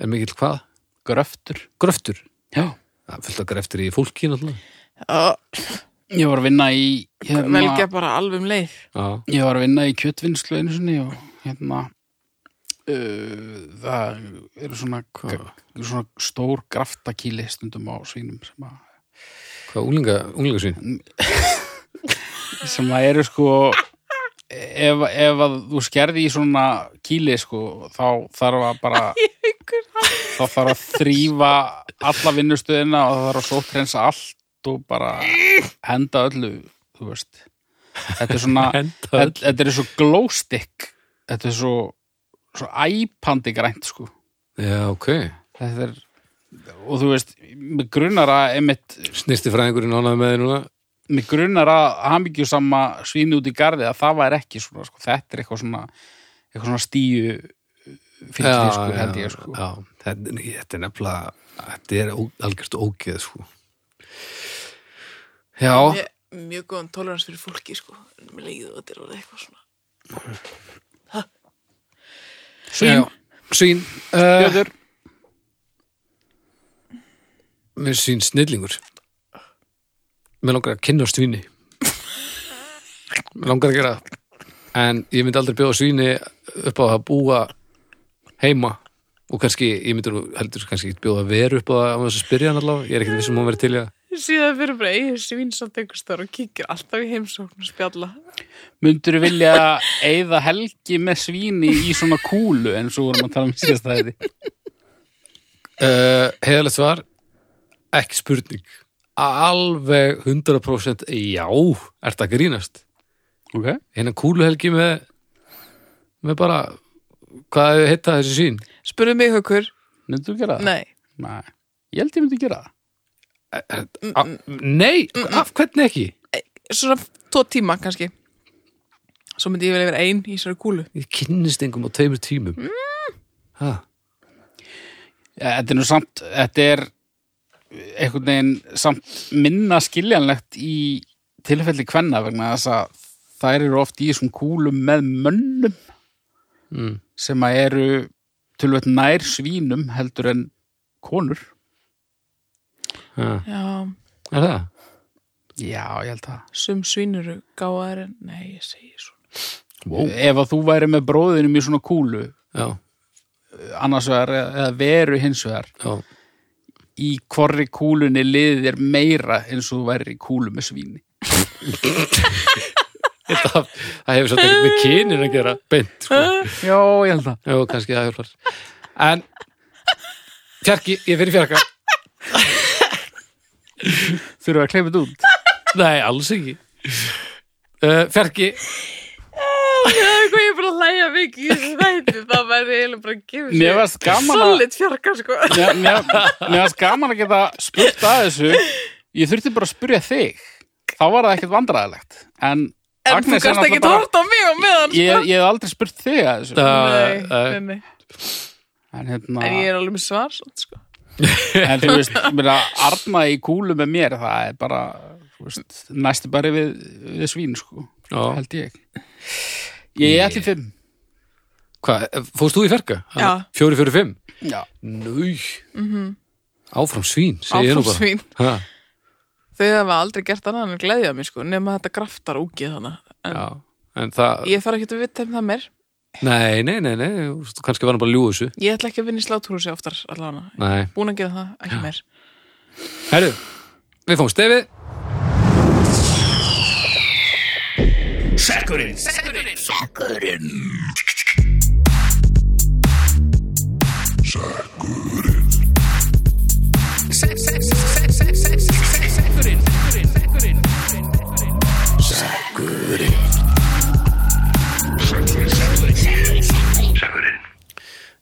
[SPEAKER 1] Er mikill hvað?
[SPEAKER 3] gröftur.
[SPEAKER 1] Gröftur?
[SPEAKER 3] Já.
[SPEAKER 1] Það er fullt af greftur í fólki náttúrulega.
[SPEAKER 2] Ó,
[SPEAKER 3] Ég var að vinna í
[SPEAKER 2] velja
[SPEAKER 3] hérna,
[SPEAKER 2] bara alveg um leið
[SPEAKER 1] Já,
[SPEAKER 3] Ég var að vinna í kjötvinnslu einu sinni og hérna uh, það eru svona, svona stór graftakíli stundum á svínum sem að
[SPEAKER 1] hvað unglinga, unglingasvín?
[SPEAKER 3] sem að eru sko ef, ef að þú skerði í svona kýli sko þá þarf að bara
[SPEAKER 2] Einhver hafði
[SPEAKER 3] þá þarf að þrýfa alla vinnustöðina og það þarf að sóttrensa allt og bara henda öllu þú veist þetta er svona
[SPEAKER 1] Henda
[SPEAKER 3] þetta, þetta er svo glowstick þetta er svo, svo æpandi grænt sko
[SPEAKER 1] Já, ok.
[SPEAKER 3] þetta er og þú veist, mig grunar að einmitt,
[SPEAKER 1] Snirti fræðingurinn ánaði með þér núna.
[SPEAKER 3] mig grunar að hamingjusama svínu út í garði að það væri ekki svona, sko, þetta er eitthvað svona eitthvað svona stíu fylgir sko, held ég sko
[SPEAKER 1] Já, þetta, þetta er nefnilega, þetta er ó- algjörst ógeð, sko. Já,
[SPEAKER 2] mjög, mjög góðan tolerans fyrir fólki sko, en mér leiðu þetta er orðið eitthvað svona
[SPEAKER 1] svín. Svín. Uh,
[SPEAKER 3] Björður,
[SPEAKER 1] mér svín snillingur. Mér langar að kynna svíni. Mér langar að gera það. En ég myndi aldrei bjóða svíni upp á að búa heima og kannski, ég myndi nú heldur kannski ekki bjóða veru upp á það án þess að spyrja hann allavega. Ég er ekkert vissum að hún verið til í það.
[SPEAKER 2] síðan fyrir bara eigin svínsamt einhvers þar og kíkir alltaf í heimsókn og spjalla
[SPEAKER 3] myndur vilja eigða helgi með svíni í svona kúlu en svo vorum að tala um síðast það
[SPEAKER 1] Uh, heiðalegt svar ekki spurning alveg 100% já, ert að grínast
[SPEAKER 3] ok,
[SPEAKER 1] hérna kúluhelgi með með bara hvað hefur heita þessi sín
[SPEAKER 2] spurðu mig haukur,
[SPEAKER 3] myndur gera það?
[SPEAKER 2] nei
[SPEAKER 3] Nei. ég held ég myndi gera það
[SPEAKER 1] A nei, af hvernig ekki
[SPEAKER 2] svona tvo tíma kannski svo myndi ég vel yfir ein í svona kúlu
[SPEAKER 1] ég kynnist engum á tveimur tímum ha,
[SPEAKER 3] Eh, þetta er nú samt, þetta er einhvern veginn samt minna skiljanlegt í tilfelli kvenna vegna þess að þær eru oft í þessum kúlum með mönnum
[SPEAKER 1] Mm.
[SPEAKER 3] sem að eru tölvöld nær svínum heldur en konur
[SPEAKER 1] ha,
[SPEAKER 2] já,
[SPEAKER 1] er það?
[SPEAKER 3] já, ég held það
[SPEAKER 2] sum svínuru gáðar en nei, ég segi svona
[SPEAKER 1] Wow.
[SPEAKER 3] ef að þú væri með bróðinum í svona kúlu
[SPEAKER 1] já,
[SPEAKER 3] annars vegar eða eða veru hins vegar
[SPEAKER 1] já,
[SPEAKER 3] í hvorri kúlunni liðið er meira eins og þú væri í kúlu með svíni
[SPEAKER 1] það, það hefur svolítið ekkert með kynin að gera beint sko.
[SPEAKER 3] já, ég held það
[SPEAKER 1] Jú, kannski það hjálpar En Fjarki, ég fyrir fjarka
[SPEAKER 3] þurfum við að kleipa þetta út
[SPEAKER 1] Nei, alls ekki uh, Fjarki,
[SPEAKER 2] það er hvað ég er bara að hlæja mikið í þessu þætti það væri eiginlega bara að gefa
[SPEAKER 3] mér varst gaman að
[SPEAKER 2] solid fjarka sko
[SPEAKER 3] mér, mér, mér varst gaman að geta spurt að þessu ég þurfti bara að spurja þig þá var það ekkert vandræðilegt en,
[SPEAKER 2] en þú
[SPEAKER 3] Agnes er
[SPEAKER 2] kannst ekki
[SPEAKER 3] náttúrulega bara-
[SPEAKER 2] tórt á mig og meðan
[SPEAKER 3] ég, ég hef aldrei spurt þig að þessu
[SPEAKER 1] Nei,
[SPEAKER 2] Nei,
[SPEAKER 1] nei.
[SPEAKER 2] nei, nei.
[SPEAKER 3] en, hérna,
[SPEAKER 2] en ég er alveg með svar samt, sko.
[SPEAKER 3] en þú veist myrja, Arna í kúlu með mér það er bara þú veist, næstu bara við, við svín sko,
[SPEAKER 1] Já.
[SPEAKER 3] held ég ég er til fimm
[SPEAKER 1] hvað, fórst þú í fjarka?
[SPEAKER 2] Já.
[SPEAKER 1] Fjóri, fjóri, fimm
[SPEAKER 3] já
[SPEAKER 1] Nú Áfram svín, segi ég nú
[SPEAKER 2] Mhm. áfram
[SPEAKER 1] bara
[SPEAKER 2] svín
[SPEAKER 1] Ha,
[SPEAKER 2] þau hafa aldrei gert annað en að gleðja mig sko nema þetta graftar úkið hana en
[SPEAKER 1] Já, en það
[SPEAKER 2] ég þarf ekki að vita um það mér
[SPEAKER 1] Nei, nei, nei, nei, þú veist, kannski var hann bara að ljúga þessu
[SPEAKER 2] ég ætla ekki að vinna í slátúrúsi oftar allavega
[SPEAKER 1] Nei,
[SPEAKER 2] búin að gera það, ekki mér
[SPEAKER 1] herru, við fáum stefið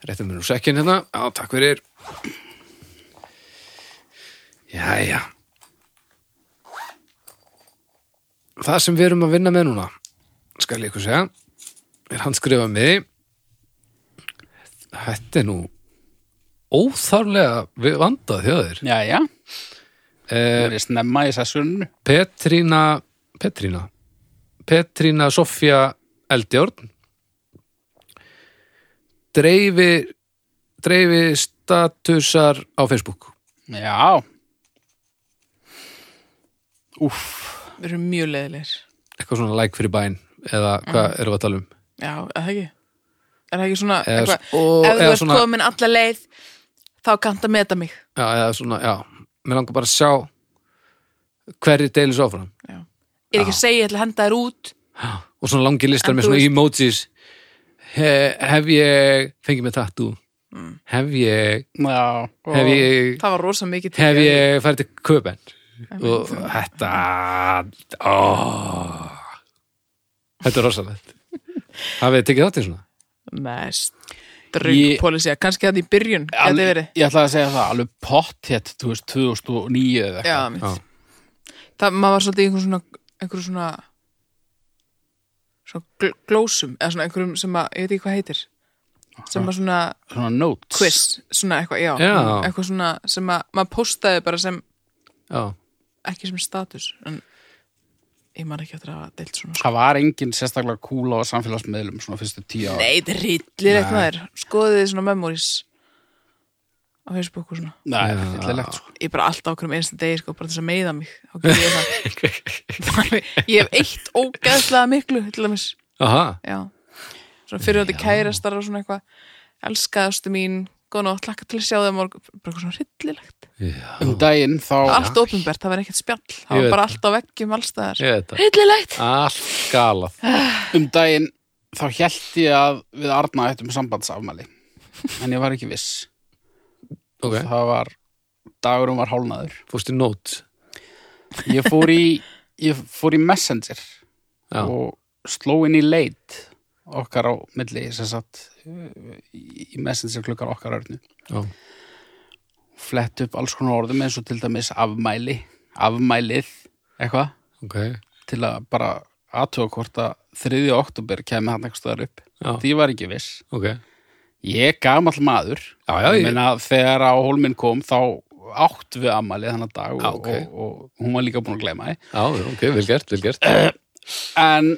[SPEAKER 1] Réttum mér nú sekkin hérna. Já, takk fyrir. Jæja. Það sem við erum að vinna með núna, skal ég ykkur segja, er hann skrifað mig. Þetta er nú óþarlega við- vandað hjá þér.
[SPEAKER 3] já, já
[SPEAKER 1] Eh,
[SPEAKER 3] Það er snemma í sessunnu.
[SPEAKER 1] Petrína, Petrína, Petrína Sofía Eldjórn, dreifi, dreifi statusar á Facebook.
[SPEAKER 3] Já. Úff.
[SPEAKER 2] Við erum mjög leiðilegir.
[SPEAKER 1] eitthvað svona like fyrir bæn eða hvað
[SPEAKER 2] Mm.
[SPEAKER 1] erum við að tala um
[SPEAKER 2] Já, er það ekki? Er það ekki svona,
[SPEAKER 1] Eða
[SPEAKER 2] eitthvað,
[SPEAKER 1] s- og-
[SPEAKER 2] ef þú
[SPEAKER 1] eða
[SPEAKER 2] ert
[SPEAKER 1] svona-
[SPEAKER 2] komin alla leið, þá kannt að meta mig.
[SPEAKER 1] já, eða svona, já, mér langar bara að sjá hverju deilir svo áfram
[SPEAKER 2] Ég er ekki að segja, ég ætla að henda þér út.
[SPEAKER 1] og svona langi listar
[SPEAKER 2] En
[SPEAKER 1] með
[SPEAKER 2] þú
[SPEAKER 1] svona
[SPEAKER 2] veist-
[SPEAKER 1] emojis He, hef ég fengið mér tattoo
[SPEAKER 2] Mm.
[SPEAKER 1] hef ég
[SPEAKER 3] Já, og
[SPEAKER 1] hef ég,
[SPEAKER 2] Það var rosa mikið til.
[SPEAKER 1] hef ég farið til köpen og
[SPEAKER 2] mean,
[SPEAKER 1] þetta ó, þetta er rosalegt hafið þið tekið þátt í svona
[SPEAKER 2] Mest
[SPEAKER 3] Ég-
[SPEAKER 2] draugpólisía, kannski þetta í byrjun, gæti
[SPEAKER 3] alveg,
[SPEAKER 2] verið.
[SPEAKER 3] ég ætla að segja það, alveg pott hétt, þú veist, 2009 eða
[SPEAKER 2] Já,
[SPEAKER 3] eitthvað.
[SPEAKER 2] mitt.
[SPEAKER 1] Já.
[SPEAKER 2] Það, maður var svolítið í einhver svona, einhver svona, svona gl glósum, eða svona einhverjum sem að, ég veit ekki hvað heitir, sem að svona
[SPEAKER 3] Svona notes.
[SPEAKER 2] quiz, svona eitthvað, já,
[SPEAKER 1] Já.
[SPEAKER 2] eitthvað svona sem að maður postaði bara sem,
[SPEAKER 1] já,
[SPEAKER 2] ekki sem status, en ég man ekki eftir að hafa deilt svona. sko.
[SPEAKER 3] Það var engin sérstaklega kúla á samfélagsmiðlum svona fyrstu tíu ára.
[SPEAKER 2] Nei, þetta er rillir eitthvað þér, skoðið þið svona memories á Facebook og svona.
[SPEAKER 3] Nei, fyllilegt sko.
[SPEAKER 2] ég bara alltaf okkur um einsta degi sko, bara til þess að meiða mig þá gerir ég það ég hef eitt ógeðslega miklu til dæmis,
[SPEAKER 1] aha,
[SPEAKER 2] já svona fyrir þetta kærastar og svona eitthvað elskaðastu mín, góð nótt, lakka til að sjá þig á morgun, bara eitthvað svona hryllilegt
[SPEAKER 3] Um daginn þá,
[SPEAKER 2] allt ofinbært, það var ekkert spjall
[SPEAKER 1] Ég
[SPEAKER 2] það
[SPEAKER 1] veit
[SPEAKER 2] var bara allt á veggjum allstaðar
[SPEAKER 1] ég veit það
[SPEAKER 2] hryllilegt,
[SPEAKER 1] allt galað
[SPEAKER 3] um daginn þá held ég að við Arna ættum sambandsafmæli. En ég var ekki viss.
[SPEAKER 1] ok,
[SPEAKER 3] Það var, dagurum var hálnaður.
[SPEAKER 1] fórstu nót
[SPEAKER 3] Ég fór í, ég fór í Messenger
[SPEAKER 1] já,
[SPEAKER 3] og sló inn í leit okkar á milli, sem sagt, í í Messenger klukkar okkar örnu.
[SPEAKER 1] já,
[SPEAKER 3] flett upp alls konar orðum eins og til dæmis afmæli, afmælið, eitthvað,
[SPEAKER 1] ok
[SPEAKER 3] til að bara aðtöga hvort að 3. oktober kemur hann eitthvað stöðar upp.
[SPEAKER 1] Já.
[SPEAKER 3] Því var ekki viss.
[SPEAKER 1] ok,
[SPEAKER 3] Ég gamall maður.
[SPEAKER 1] Já, já,
[SPEAKER 3] ég.
[SPEAKER 1] ég-
[SPEAKER 3] meina þegar á hólminn kom þá átt við afmælið þannig dag og,
[SPEAKER 1] Já, ok.
[SPEAKER 3] og, og hún var líka búin að gleyma þið.
[SPEAKER 1] já, já, ok, vel gert, vel gert
[SPEAKER 3] En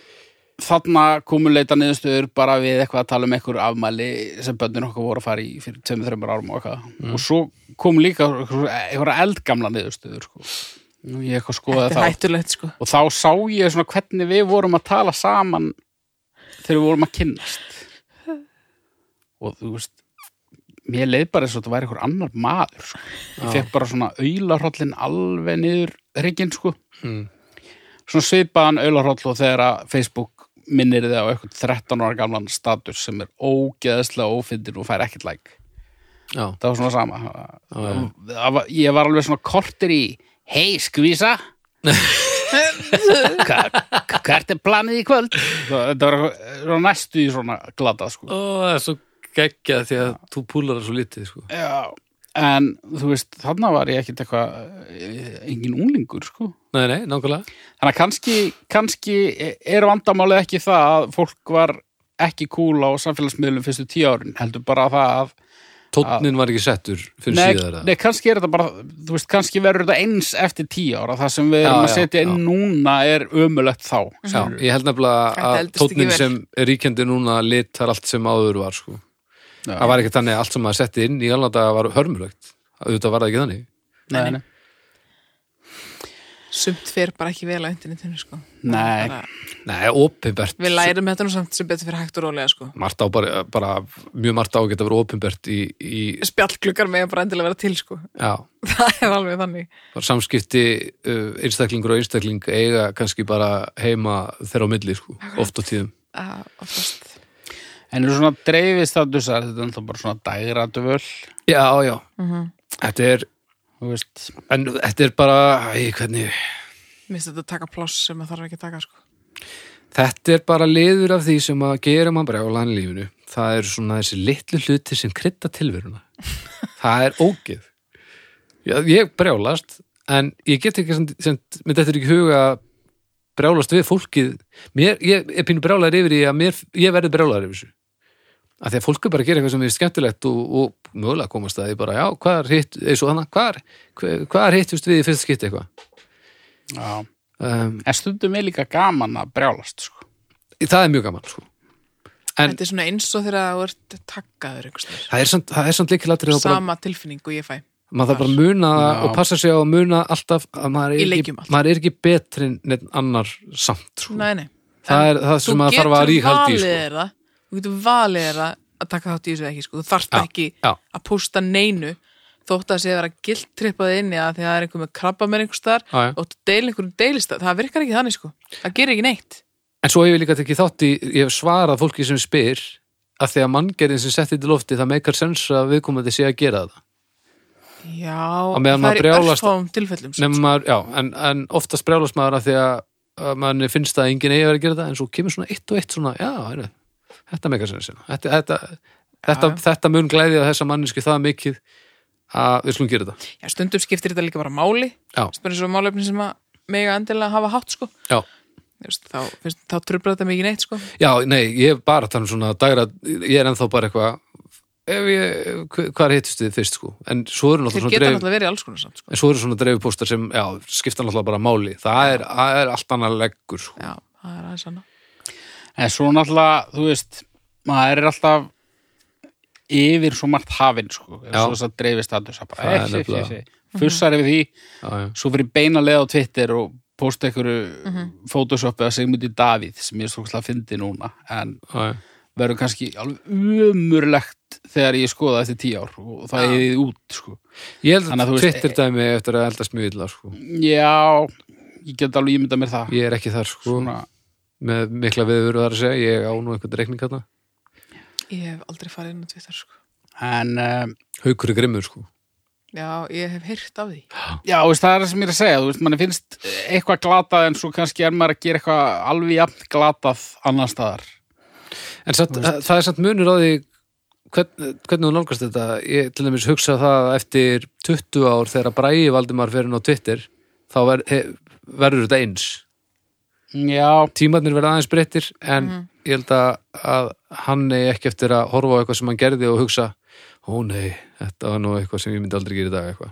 [SPEAKER 3] þarna komu leita niðurstöður bara við eitthvað að tala um einhver afmæli sem bönnir okkar voru að fara í fyrir 2-3 árum og eitthvað.
[SPEAKER 2] Mm.
[SPEAKER 3] Og svo kom líka einhverja eldgamla niðurstöður, sko. Nú ég eitthvað skoða
[SPEAKER 2] þetta
[SPEAKER 3] þá.
[SPEAKER 2] er hættulegt sko
[SPEAKER 3] Og þá sá ég svona hvernig við vorum að tala saman þegar við vorum að kynnast. Og þú veist, mér leið bara eins og þetta væri einhver annar maður, sko. Ég fekk bara svona aularhrollin alveg niður rygginn, sko
[SPEAKER 1] mm.
[SPEAKER 3] svona svipaðan auðlarhóll og þegar að Facebook minnir þið á eitthvað 13 ára gamlan status sem er ógeðslega ófyndir og fær ekkert læk.
[SPEAKER 1] já,
[SPEAKER 3] Það var svona sama.
[SPEAKER 1] já.
[SPEAKER 3] Það var- Ég var alveg svona kortir í Hei, skvísa! Hva- Hvert er planið í kvöld? Það- Þetta var eitthvað- var næstu í svona glata, sko.
[SPEAKER 1] Ó, það er svo geggjað því að þú púlar það svo lítið, sko.
[SPEAKER 3] Já. En, þú veist, þarna var ég ekkert eitthvað, eh, engin unglingur, sko.
[SPEAKER 1] Nei, nei, nákvæmlega.
[SPEAKER 3] Þannig að kannski, kannski er vandamálið ekki það að fólk var ekki kúl á samfélagsmiðlum fyrstu tíu árin, heldur bara það að
[SPEAKER 1] Tónnin var ekki settur fyrir
[SPEAKER 3] nei,
[SPEAKER 1] síðar. eða?
[SPEAKER 3] nei, kannski er þetta bara, þú veist, kannski verður þetta eins eftir tíu ára, það sem við erum
[SPEAKER 1] Já,
[SPEAKER 3] að
[SPEAKER 1] já,
[SPEAKER 3] setja inn
[SPEAKER 1] já.
[SPEAKER 3] núna er ömulegt þá.
[SPEAKER 1] Já, ég held nefnilega
[SPEAKER 2] Þetta
[SPEAKER 1] að
[SPEAKER 2] eldist ekki
[SPEAKER 1] tónnin
[SPEAKER 2] vel.
[SPEAKER 1] sem er ríkjandi núna litar allt sem áður var, sko.
[SPEAKER 3] Já.
[SPEAKER 1] Það var ekki þannig að allt sem maður setti inn í alveg að var hörmulegt. Auðvitað var það ekki þannig.
[SPEAKER 3] Nei, nei.
[SPEAKER 2] sumt fer bara ekki vel á internetinu sko
[SPEAKER 3] Nei.
[SPEAKER 2] Bara-
[SPEAKER 1] Nei, opinbert.
[SPEAKER 2] við lærum þetta nú samt sem betur fyrir hægt og rólega sko
[SPEAKER 1] Marta á bara, bara, mjög margt á að geta að vera opinbert í, í
[SPEAKER 2] spjallklukar með bara endilega vera til sko
[SPEAKER 1] já,
[SPEAKER 2] það er alveg þannig
[SPEAKER 1] bara samskipti uh, einstaklingur og einstakling eiga kannski bara heima þeirra á milli, sko, oft á tíðum.
[SPEAKER 2] að oftast
[SPEAKER 3] En er svona dreifistatusar, þetta er ennþá bara svona dægradvöl,
[SPEAKER 1] Já, já.
[SPEAKER 2] Mhm.
[SPEAKER 1] Þetta er,
[SPEAKER 3] þú veist,
[SPEAKER 1] en þetta er bara, æ, hvernig,
[SPEAKER 2] minnst þetta að taka pláss sem það þarf ekki að taka sko.
[SPEAKER 1] Þetta er bara liður af því sem að gera mann brjálan í lífinu. Það eru svona þessi litlu hluti sem krydda tilveruna. Það er ógeð. Já, ég brjálast, en ég get ekki sem, sem með þetta er ekki huga að brjálast við fólkið. Mér, ég er pínu brjálar yfir því að mér, ég verði brjálar yfir þessu. Af því að fólk er bara að gera eitthvað sem er skemmtilegt og, og mögulega komast að því bara, já, hvað er hitt, eins og hana, hvað er, hvað er hittust við í fyrsta skipti eitthvað?
[SPEAKER 3] já.
[SPEAKER 1] Um,
[SPEAKER 3] En stundum er líka gaman að brjálast, sko.
[SPEAKER 1] það er mjög gaman, sko. En-
[SPEAKER 2] þetta er svona eins og þegar þú ert takkaður einhvers staðar.
[SPEAKER 1] Það er samt, það er samt líkilatrið að bara
[SPEAKER 2] sama tilfinning og ég fæ
[SPEAKER 1] maður þarf bara að muna það
[SPEAKER 3] Já.
[SPEAKER 1] og passa sig á að muna alltaf að maður
[SPEAKER 2] Í
[SPEAKER 1] er, ekki,
[SPEAKER 2] leikjum alltaf.
[SPEAKER 1] maður er ekki betri en neitt annar samt sko.
[SPEAKER 2] Nei, nei.
[SPEAKER 1] það
[SPEAKER 2] En
[SPEAKER 1] er það
[SPEAKER 2] þú
[SPEAKER 1] sem maður þarf að
[SPEAKER 2] getur
[SPEAKER 1] ríkhaldi
[SPEAKER 2] valið
[SPEAKER 1] sko.
[SPEAKER 2] þér það. Þú getur valið þér að að taka þátt í þessu eða ekki, sko. Þú þarft
[SPEAKER 1] Já,
[SPEAKER 2] ekki
[SPEAKER 1] já.
[SPEAKER 2] að posta neinu þótt að sé að vera gildtrippað inn í að því að það er einhver með krabba með einhver staðar
[SPEAKER 1] Já, já.
[SPEAKER 2] og þú deil einhverjum deilistað. Það virkar ekki þannig, sko. Það gerir ekki neitt.
[SPEAKER 1] en svo hef ég líka tekið þátt í ég hef svarað fólki sem spyr að því að manngerðin sem setti til lofti það meikar sens að viðkomandi sé að gera það
[SPEAKER 2] Já,
[SPEAKER 1] meðan
[SPEAKER 2] það
[SPEAKER 1] maður
[SPEAKER 2] er í
[SPEAKER 1] brjálast-
[SPEAKER 2] örfáum tilfellum. sko.
[SPEAKER 1] Nefnum maður, já, en, en oftast brjálast maður að því að, að mann finnst að enginn eigi að vera að gera það en svo kemur svona eitt og eitt svona, já, heru, þetta meikar sens hérna. þetta, þetta, þetta,
[SPEAKER 2] já.
[SPEAKER 1] þetta mun glæðið að þessa manniski það mikið að við slum gera þetta
[SPEAKER 2] Já, stundum skiptir þetta líka bara máli.
[SPEAKER 1] Já.
[SPEAKER 2] Spyrir svo um málefni sem að mega endilega hafa hátt, sko.
[SPEAKER 1] já.
[SPEAKER 2] Þú veist, Þá, finnst, þá trublar þetta mikið neitt, sko.
[SPEAKER 1] já, nei, ég er bara þannig svona dagra, ég er ennþá bara eitthvað ef ég, hv- hvar hittist þið fyrst sko en svo eru
[SPEAKER 2] Þeir
[SPEAKER 1] náttúrulega
[SPEAKER 2] geta
[SPEAKER 1] svona dreif
[SPEAKER 2] náttúrulega verið alls konar samt, sko.
[SPEAKER 1] en svo eru svona dreifupóstar sem, já, skipta náttúrulega bara máli það er, það er allt annað leggur sko.
[SPEAKER 2] Já, það er aðeins annað.
[SPEAKER 3] En svo náttúrulega, þú veist, maður er alltaf yfir svo margt hafinn, sko. eins
[SPEAKER 1] Já.
[SPEAKER 3] og þess að dreifi status að
[SPEAKER 1] Það er
[SPEAKER 3] bara, efsi,
[SPEAKER 1] nefnilega.
[SPEAKER 3] efsi, fussar yfir því,
[SPEAKER 1] já, já.
[SPEAKER 3] svo fyrir beina leið á Twitter og posta einhverju mm -hmm. Photoshopi að segja mútið Davíð, sem ég er svo að fyndi núna, en
[SPEAKER 1] Já, já.
[SPEAKER 3] verður kannski alveg umurlegt þegar ég skoða eftir tíu ár og það er þið út, sko.
[SPEAKER 1] ég held
[SPEAKER 3] Þannig
[SPEAKER 1] að
[SPEAKER 3] að þú veist-
[SPEAKER 1] Twitter dæmi eftir að eldast mjög illa sko
[SPEAKER 3] Já, ég get alveg ímyndað mér það.
[SPEAKER 1] Ég er ekki þar sko
[SPEAKER 3] Svona,
[SPEAKER 1] með mikla viður þar að segja, ég á nú einhvern reikning hérna.
[SPEAKER 2] Ég hef aldrei farið inn á Twitter, sko.
[SPEAKER 3] en, um,
[SPEAKER 1] Haukur er grimmur sko.
[SPEAKER 2] Já, ég hef heyrt af því.
[SPEAKER 3] já, þú veist, það er það sem ég er að segja, þú veist, manni finnst eitthvað glatað en svo kannski er maður að gera eitthvað alveg jafn glatað annar staðar.
[SPEAKER 1] En satt, það er samt munur á því hvern, hvernig þú nálgast þetta. Ég til dæmis hugsa það að eftir 20 ár þegar Bræi Valdimar fyrir inn á Twitter þá ver, he, verður þetta eins.
[SPEAKER 3] Já,
[SPEAKER 1] Tímarnir verða aðeins breyttir en
[SPEAKER 3] Mhm.
[SPEAKER 1] ég held að, að hann er ekki eftir að horfa á eitthvað sem hann gerði og hugsa ó nei, þetta var nú eitthvað sem ég myndi aldrei gera í dag eitthvað.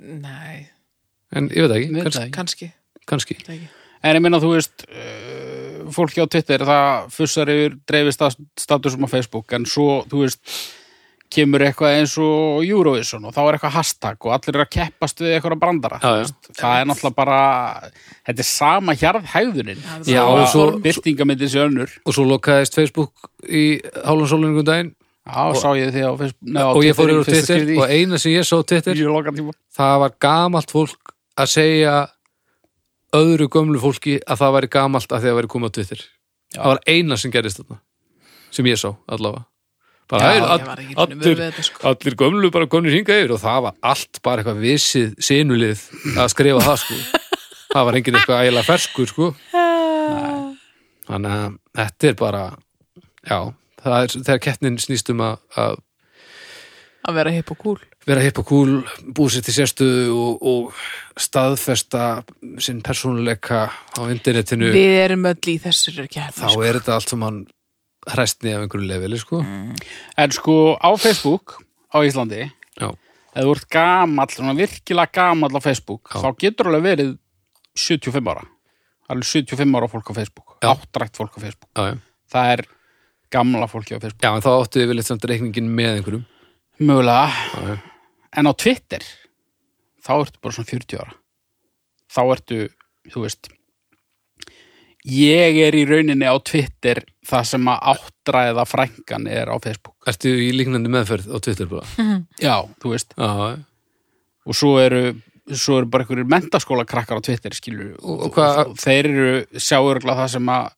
[SPEAKER 2] Nei,
[SPEAKER 1] En ég veit það ekki,
[SPEAKER 3] Ég veit
[SPEAKER 1] kannski,
[SPEAKER 3] það ekki.
[SPEAKER 2] kannski.
[SPEAKER 1] kannski.
[SPEAKER 2] það ekki.
[SPEAKER 3] en ég minna, þú veist, uh, fólki á Twitter, það fussar yfir dreifist statusum á Facebook, en svo, þú veist, kemur eitthvað eins og Eurovision og þá er eitthvað hashtag og allir eru að keppast við eitthvað brandara.
[SPEAKER 1] Já, já.
[SPEAKER 3] þú veist. Það er náttúrulega bara, þetta er sama hjarð hegðunin.
[SPEAKER 2] Já,
[SPEAKER 1] Já, og svo-
[SPEAKER 3] Byrtingamindin sér önnur.
[SPEAKER 1] Og svo lokaðist Facebook í hálfansólunum daginn
[SPEAKER 3] Já, sá ég þig á Facebook Nei, á
[SPEAKER 1] og ég fór
[SPEAKER 3] í
[SPEAKER 1] yfir á
[SPEAKER 3] fyrsta
[SPEAKER 1] Twitter
[SPEAKER 3] skipti
[SPEAKER 1] og eina sem ég sá á Twitter
[SPEAKER 3] í lokan tíma
[SPEAKER 1] það var gamalt fólk að segja öðru gömlu fólki að það væri gamalt að því að væri komið á Twitter það var eina sem gerist þarna sem ég sá allavega bara,
[SPEAKER 3] Já,
[SPEAKER 1] "Hey,
[SPEAKER 3] ég
[SPEAKER 1] all,
[SPEAKER 2] var ekki svona vör
[SPEAKER 1] allir,
[SPEAKER 2] við þetta, sko."
[SPEAKER 1] allir gömlu bara komnir hingað yfir og það var allt bara eitthvað vissið sinulið að skrifa það sko það var enginn eitthvað ægilega ferskur sko þannig að þetta er bara já, það er þegar kettnin snýst um að, að
[SPEAKER 2] Að vera hipp og cool.
[SPEAKER 1] vera hipp og kúl, búið sér til sérstöðu og, og staðfesta sinn persónuleika á internetinu,
[SPEAKER 2] Við erum öll í þessur
[SPEAKER 1] þá
[SPEAKER 2] kjærna, sko.
[SPEAKER 1] er þetta allt sem hann hræstni af einhverju leveli, sko.
[SPEAKER 3] En sko á Facebook á Íslandi ef
[SPEAKER 1] Já,
[SPEAKER 3] þú ert gamall, svona virkilega gamall á Facebook
[SPEAKER 1] Já.
[SPEAKER 3] þá getur alveg verið 75 ára alveg 75 ára fólk á Facebook
[SPEAKER 1] Já.
[SPEAKER 3] áttrætt fólk á Facebook
[SPEAKER 1] já, já.
[SPEAKER 3] það er gamla fólki á Facebook
[SPEAKER 1] Já, en þá áttu við litt samt reikningin með einhverjum.
[SPEAKER 3] Mögulega,
[SPEAKER 1] Já, já.
[SPEAKER 3] en á Twitter þá ertu bara svona 40 ára þá ertu, þú veist ég er í rauninni á Twitter það sem að áttræða frængan er á Facebook
[SPEAKER 1] Ertu í líknandi meðferð á Twitter bara?
[SPEAKER 3] Já, þú veist
[SPEAKER 1] Já, já.
[SPEAKER 3] og svo eru, svo eru bara einhverjir mentaskóla krakkar á Twitter skilur
[SPEAKER 1] Og- og hvað-
[SPEAKER 3] þeir eru sjáurgla það sem að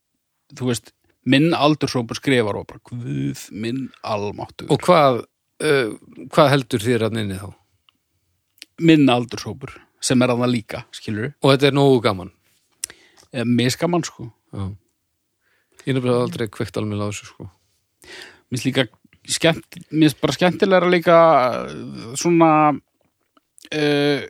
[SPEAKER 3] þú veist, minn aldursópur skrifar og bara guð minn almáttu
[SPEAKER 1] Og hvað, uh, hvað heldur þér hann inni þá?
[SPEAKER 3] minn aldursópur sem er að það líka skilur,
[SPEAKER 1] Og þetta er nógu gaman.
[SPEAKER 3] miskamann sko
[SPEAKER 1] Já. Ég nefnilega aldrei kveikt alveg á þessu, sko.
[SPEAKER 3] minnst líka skemmt, minnst bara skemmtilega líka uh, svona uh,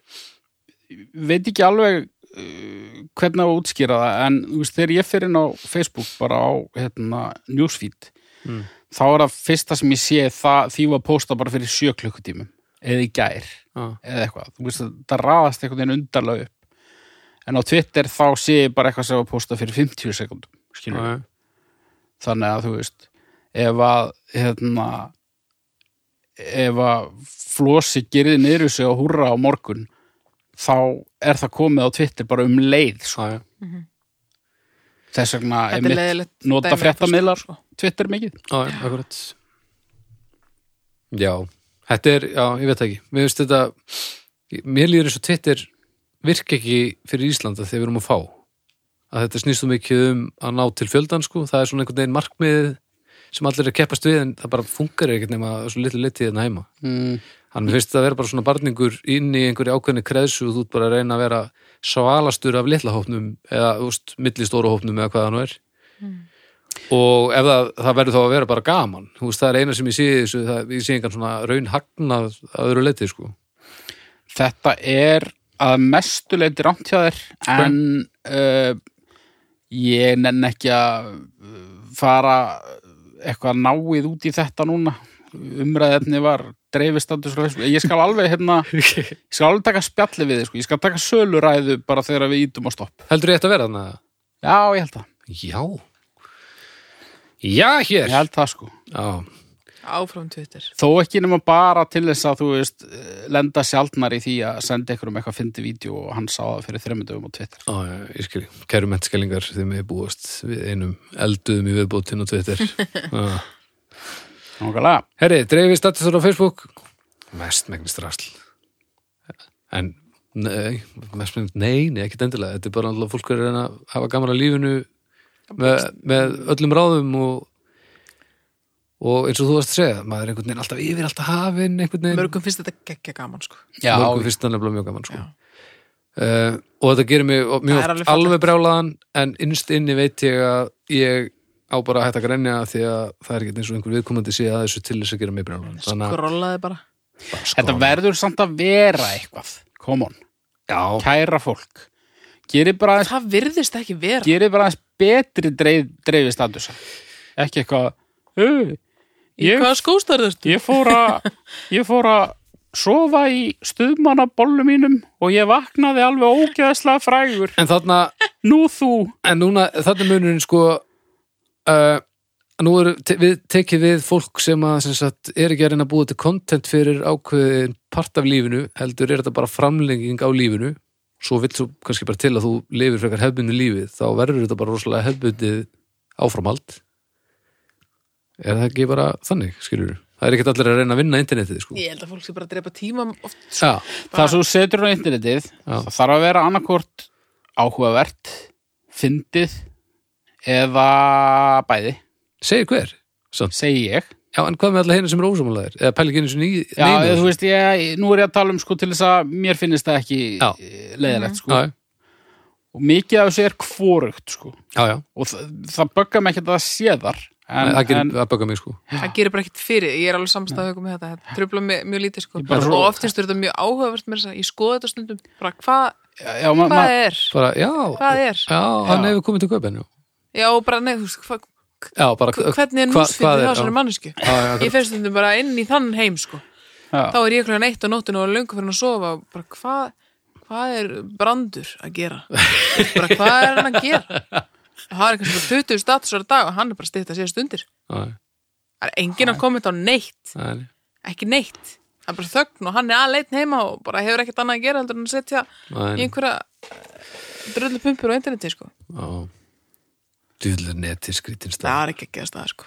[SPEAKER 3] veit ekki alveg uh, hvernig á að útskýra það en þú veist, þegar ég fer inn á Facebook bara á hérna, newsfeed
[SPEAKER 1] Mm.
[SPEAKER 3] þá er það fyrsta sem ég sé það því var posta bara fyrir sjö klukkutímum eða í gær
[SPEAKER 1] Já,
[SPEAKER 3] eða eitthvað, þú veist, það raðast einhvern veginn undarlega upp en á Twitter þá sé ég bara eitthvað sem var posta fyrir 50 sekundum,
[SPEAKER 1] já,
[SPEAKER 3] skilur
[SPEAKER 1] já.
[SPEAKER 3] þannig að þú veist ef að hérna ef að flosi gerði niður sig og húrra á morgun þá er það komið á Twitter bara um leið sko.
[SPEAKER 1] já, já.
[SPEAKER 3] þess vegna
[SPEAKER 2] Þetta er
[SPEAKER 3] einmitt
[SPEAKER 2] leiðilegt
[SPEAKER 3] nota
[SPEAKER 2] dæmi,
[SPEAKER 3] fréttamiðlar.
[SPEAKER 2] sko.
[SPEAKER 3] Twitter mikið
[SPEAKER 1] Já, já, akkurat Já, þetta er, já, ég veit það ekki Mér finnst þetta Mér líður eins og Twitter virk ekki fyrir Íslanda þegar við erum að fá að þetta snýst þú mikið um að ná til fjöldan sko, það er svona einhvern veginn markmið sem allir er að keppast við en það bara funkar ekkert nema að svo litlu litið en heima
[SPEAKER 3] mm.
[SPEAKER 1] Hann mér finnst það að vera bara svona barningur inn í einhverju ákveðni kreðsu og þú ert bara að reyna að vera svalastur af litla hópnum eða úst, milli stóra hópnum eða hvað það nú er
[SPEAKER 3] Mm.
[SPEAKER 1] og ef það, það verður þá að vera bara gaman þú veist, það er eina sem ég sé í þessu það, ég sé engan svona raunhagn að, að öðru leiti sko.
[SPEAKER 3] þetta er að mestu leiti rámt hjá þér en uh, ég nenn ekki að uh, fara eitthvað náið út í þetta núna umræðefni var dreifistandur ég skal alveg hérna ég skal alveg taka spjalli við þið sko. ég skal taka söluræðu bara þegar við ítum á stopp
[SPEAKER 1] heldur ég þetta að vera þannig að
[SPEAKER 3] já ég held það,
[SPEAKER 1] já já hér
[SPEAKER 3] ég held það sko
[SPEAKER 1] já,
[SPEAKER 2] Áfram Twitter.
[SPEAKER 3] þó ekki nema bara til þess að þú veist eh, lenda sjaldnar í því að senda ykkur um eitthvað fyndi vídeo og hann sá það fyrir þreymundum á Twitter
[SPEAKER 1] á, já, ég skil kæru mennskellingar þegar við búast við einum elduðum í viðbótinn og Twitter já.
[SPEAKER 3] Nákvæmlega.
[SPEAKER 1] herri, dreifið statusur á Facebook mest megnist rasl en nei, mest megnist, nei, nei, ekkert endilega þetta er bara alltaf fólk er að reyna að hafa gaman að lífinu með, með öllum ráðum og og eins og þú varst að segja maður er einhvern veginn alltaf yfir, alltaf hafinn einhvern veginn,
[SPEAKER 2] Mörgum finnst þetta geggja gaman, sko.
[SPEAKER 3] Já,
[SPEAKER 1] mörgum fyrst þannig nefnilega mjög gaman sko. uh, og þetta gerir mig og- mjög
[SPEAKER 2] Það
[SPEAKER 1] oft
[SPEAKER 2] er alveg
[SPEAKER 1] alveg,
[SPEAKER 2] fallegt.
[SPEAKER 1] brjálaðan en innst inni veit ég að ég á bara að hætta að grenja því að það er ekki eins og einhver viðkomandi sé að þessu til þess að gera mig brjálaðan þannig að
[SPEAKER 2] Skrollaði bara.
[SPEAKER 3] Þetta verður samt að vera eitthvað Come on,
[SPEAKER 1] Já,
[SPEAKER 3] kæra fólk Gerið bara aðeins,
[SPEAKER 2] Það virðist ekki vera.
[SPEAKER 3] gerið bara aðeins betri dreif, dreifist andusa Ekki eitthvað "Ö,
[SPEAKER 2] Í
[SPEAKER 3] ég,
[SPEAKER 2] hvaða skóstarður þú?
[SPEAKER 3] ég fór að Ég fór að sofa í stuðmannabollu mínum og ég vaknaði alveg ógeðslega frægur
[SPEAKER 1] en þarna
[SPEAKER 3] Nú þú
[SPEAKER 1] en núna, þetta munurinn sko uh, nú er te við, tekið við fólk sem að sem sagt, er ekki að reyna að búa til content fyrir ákveðin part af lífinu heldur er þetta bara framlenging á lífinu svo vill þú kannski bara til að þú lifir frekar hefbundu lífið, þá verður þetta bara rosalega hefbundið áframhald er það ekki bara þannig, skilur það er ekkert allir að reyna að vinna internetið sko.
[SPEAKER 2] Ég held að fólk sé bara að drepa tíma oft.
[SPEAKER 1] Já,
[SPEAKER 3] Það sem þú setur á internetið það þarf að vera annarkvort áhugavert fyndið eða bæði,
[SPEAKER 1] segir hver Samt.
[SPEAKER 3] segi ég
[SPEAKER 1] Já, en hvað með alla hérna sem er ósámálaðir? Eða pæli ekki einu sinni í
[SPEAKER 3] Já,
[SPEAKER 1] neinu
[SPEAKER 3] eða,
[SPEAKER 1] þessu?
[SPEAKER 3] þú veist, ég, nú er ég að tala um sko til þess að mér finnist það ekki
[SPEAKER 1] Já.
[SPEAKER 3] eh, leiðilegt sko.
[SPEAKER 1] Já,
[SPEAKER 3] Og mikið af þessu er kvorugt sko.
[SPEAKER 1] já, já,
[SPEAKER 3] Og það, það böggar mig ekki að það sé þar. En,
[SPEAKER 1] það
[SPEAKER 3] en
[SPEAKER 1] gerir að bögga mig sko
[SPEAKER 2] Það gerir bara ekkert fyrir. Ég er alveg samstæðugum með þetta. Þetta trubla mig mjög lítið, sko.
[SPEAKER 3] Ég bara svo-
[SPEAKER 2] Og oftist er þetta mjög áhugavert með þess að segja. ég skoða þetta stundum. Bara hvað
[SPEAKER 3] já, ma, ma,
[SPEAKER 2] hva er?
[SPEAKER 1] bara, já,
[SPEAKER 2] Hvað er?
[SPEAKER 1] já, hann
[SPEAKER 3] Já.
[SPEAKER 1] hefur komið til kaupin já,
[SPEAKER 2] Já, og bara nei, þú veist, hva,
[SPEAKER 1] já bara,
[SPEAKER 2] hvernig er
[SPEAKER 1] hva- hvað
[SPEAKER 2] núsfyrir hjá
[SPEAKER 1] Já.
[SPEAKER 2] þessari mannesku?
[SPEAKER 1] Já, já,
[SPEAKER 2] Ég fer stundum bara inn í þann heim, sko.
[SPEAKER 3] já,
[SPEAKER 2] Þá er ég klokkan eitt á nóttinu og löngu fyrir að sofa og bara hvað hvað er brandur að gera? bara hvað er hann að gera? Það er eitthvað sem er 20 statusar að dag og hann er bara stýtt að sér stundir.
[SPEAKER 1] já, já,
[SPEAKER 2] Það er enginn að kommenta á neitt,
[SPEAKER 1] já, já,
[SPEAKER 2] ekki neitt. Það er bara þögn og hann er aðleitt heima og bara hefur ekkert annað að gera heldur en að setja
[SPEAKER 1] já,
[SPEAKER 2] í einhverja drullu pumpur á interneti, sko.
[SPEAKER 1] já. dýðlega neti skrítin
[SPEAKER 2] Það
[SPEAKER 1] stað
[SPEAKER 2] er ekki ekki að staða, sko.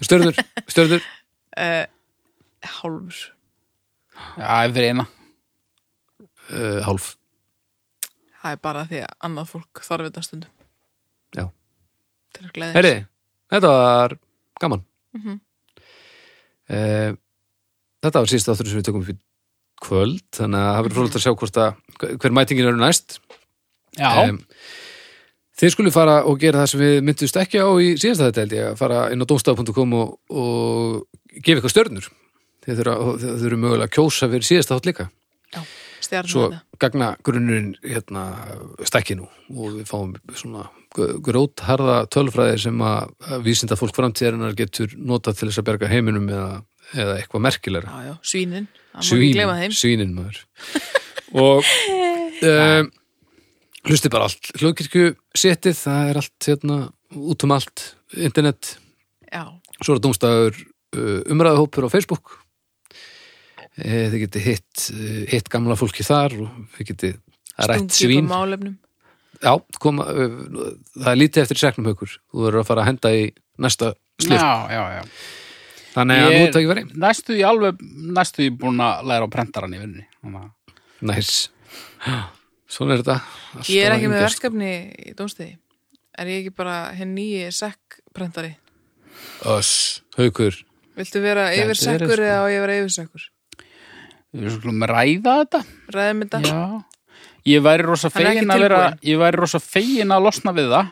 [SPEAKER 1] störður, störður
[SPEAKER 2] Hálfur.
[SPEAKER 3] já, yfir eina.
[SPEAKER 1] uh, hálf,
[SPEAKER 2] Það er bara því að annað fólk þarf þetta stundum
[SPEAKER 1] já,
[SPEAKER 2] til að gleðja.
[SPEAKER 1] herri þetta var gaman
[SPEAKER 2] Mhm.
[SPEAKER 1] mm þetta var sísta áttur sem við tökum upp í kvöld, þannig að það verður frólægt að sjá hvort að hver mætingin eru næst
[SPEAKER 3] Já,
[SPEAKER 1] Em, Þið skulle fara og gera það sem við myndust ekki á í síðasta þetta held ég að fara inn á domstaf.com og, og gefa ykkur stjörnur. Þið þurfa, og þið þurfa mögulega að kjósa fyrir síðasta þátt líka.
[SPEAKER 2] Stjarnan hérna.
[SPEAKER 1] Svo
[SPEAKER 2] þetta.
[SPEAKER 1] gagna grunnurinn hérna, stækki nú og við fáum svona grótharða tölfræði sem að vísinda fólk framtíðarinnar getur notað til þess að berga heiminum eða, eða eitthvað merkilega
[SPEAKER 2] Já, já, svínin. Það má ekki gleyma
[SPEAKER 1] svínin,
[SPEAKER 2] þeim.
[SPEAKER 1] svínin maður og um, hlusti bara allt hlugkirkju setið, það er allt hérna, út um allt, internet
[SPEAKER 2] Já,
[SPEAKER 1] svo er það dómstæður uh, umræðahópur eh, á Facebook eh, þið geti hitt, eh, hitt gamla fólki þar og þið geti rætt
[SPEAKER 2] Stungið
[SPEAKER 1] svín
[SPEAKER 2] upp á málefnum.
[SPEAKER 1] Já, koma, eh, það er lítið eftir segnum haukur, þú verður að fara að henda í næsta slið,
[SPEAKER 3] já, já, já.
[SPEAKER 1] þannig að
[SPEAKER 3] Ég
[SPEAKER 1] nú
[SPEAKER 3] er
[SPEAKER 1] tækir veri
[SPEAKER 3] Næstu í alveg, næstu í búin að læra á prentarann í vinninni. Þannig að
[SPEAKER 1] Næs, svona er þetta Alltaf
[SPEAKER 2] Ég er ekki
[SPEAKER 1] að
[SPEAKER 2] með
[SPEAKER 1] yngjast.
[SPEAKER 2] verkefni í dómstegi. Er ég ekki bara henn nýji sekkprentari?
[SPEAKER 1] Öss, haukur,
[SPEAKER 2] Viltu vera
[SPEAKER 1] Gæti
[SPEAKER 2] yfir
[SPEAKER 1] verið,
[SPEAKER 2] sekkur
[SPEAKER 1] sko.
[SPEAKER 2] eða á ég að vera yfir sekkur?
[SPEAKER 3] við skulum ræða þetta.
[SPEAKER 2] Ræðum þetta?
[SPEAKER 3] Já. Ég væri rosa
[SPEAKER 2] Hann er ekki
[SPEAKER 3] fegin að vera,
[SPEAKER 2] tilbúinn.
[SPEAKER 3] ég væri rosa fegin að losna við það,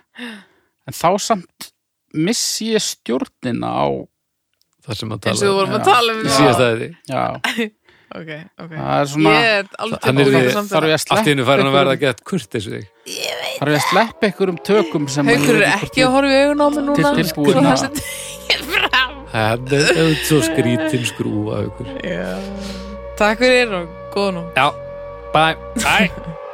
[SPEAKER 3] en þá samt missi ég stjórnina á,
[SPEAKER 1] það sem að
[SPEAKER 2] eins
[SPEAKER 1] tala
[SPEAKER 2] og þú vorum að
[SPEAKER 3] Já.
[SPEAKER 2] tala um
[SPEAKER 1] í
[SPEAKER 3] Já.
[SPEAKER 1] síðast aðeins
[SPEAKER 3] já,
[SPEAKER 2] Ok, ok.
[SPEAKER 3] það er svona,
[SPEAKER 2] Ég er alveg
[SPEAKER 1] Hann er
[SPEAKER 2] tilbúin að
[SPEAKER 1] við-
[SPEAKER 2] fara samt
[SPEAKER 3] þarf ég að
[SPEAKER 1] Allt í
[SPEAKER 3] sleppa
[SPEAKER 1] hennu fær hann að verða
[SPEAKER 3] einhverjum-
[SPEAKER 1] að geta kurt þessu þig
[SPEAKER 3] þarf ég að sleppa einhverjum tökum sem að
[SPEAKER 2] Haukur
[SPEAKER 3] ég
[SPEAKER 2] er
[SPEAKER 3] veit
[SPEAKER 2] ekki að horfa í augun á mig núna
[SPEAKER 3] Til- tilbúin
[SPEAKER 2] Svo
[SPEAKER 3] að-
[SPEAKER 2] þessi tekið fram
[SPEAKER 1] Það er það er svo skrítin skrúfa haukur
[SPEAKER 2] Takk fyrir og góða nótt
[SPEAKER 1] Já, bye Bye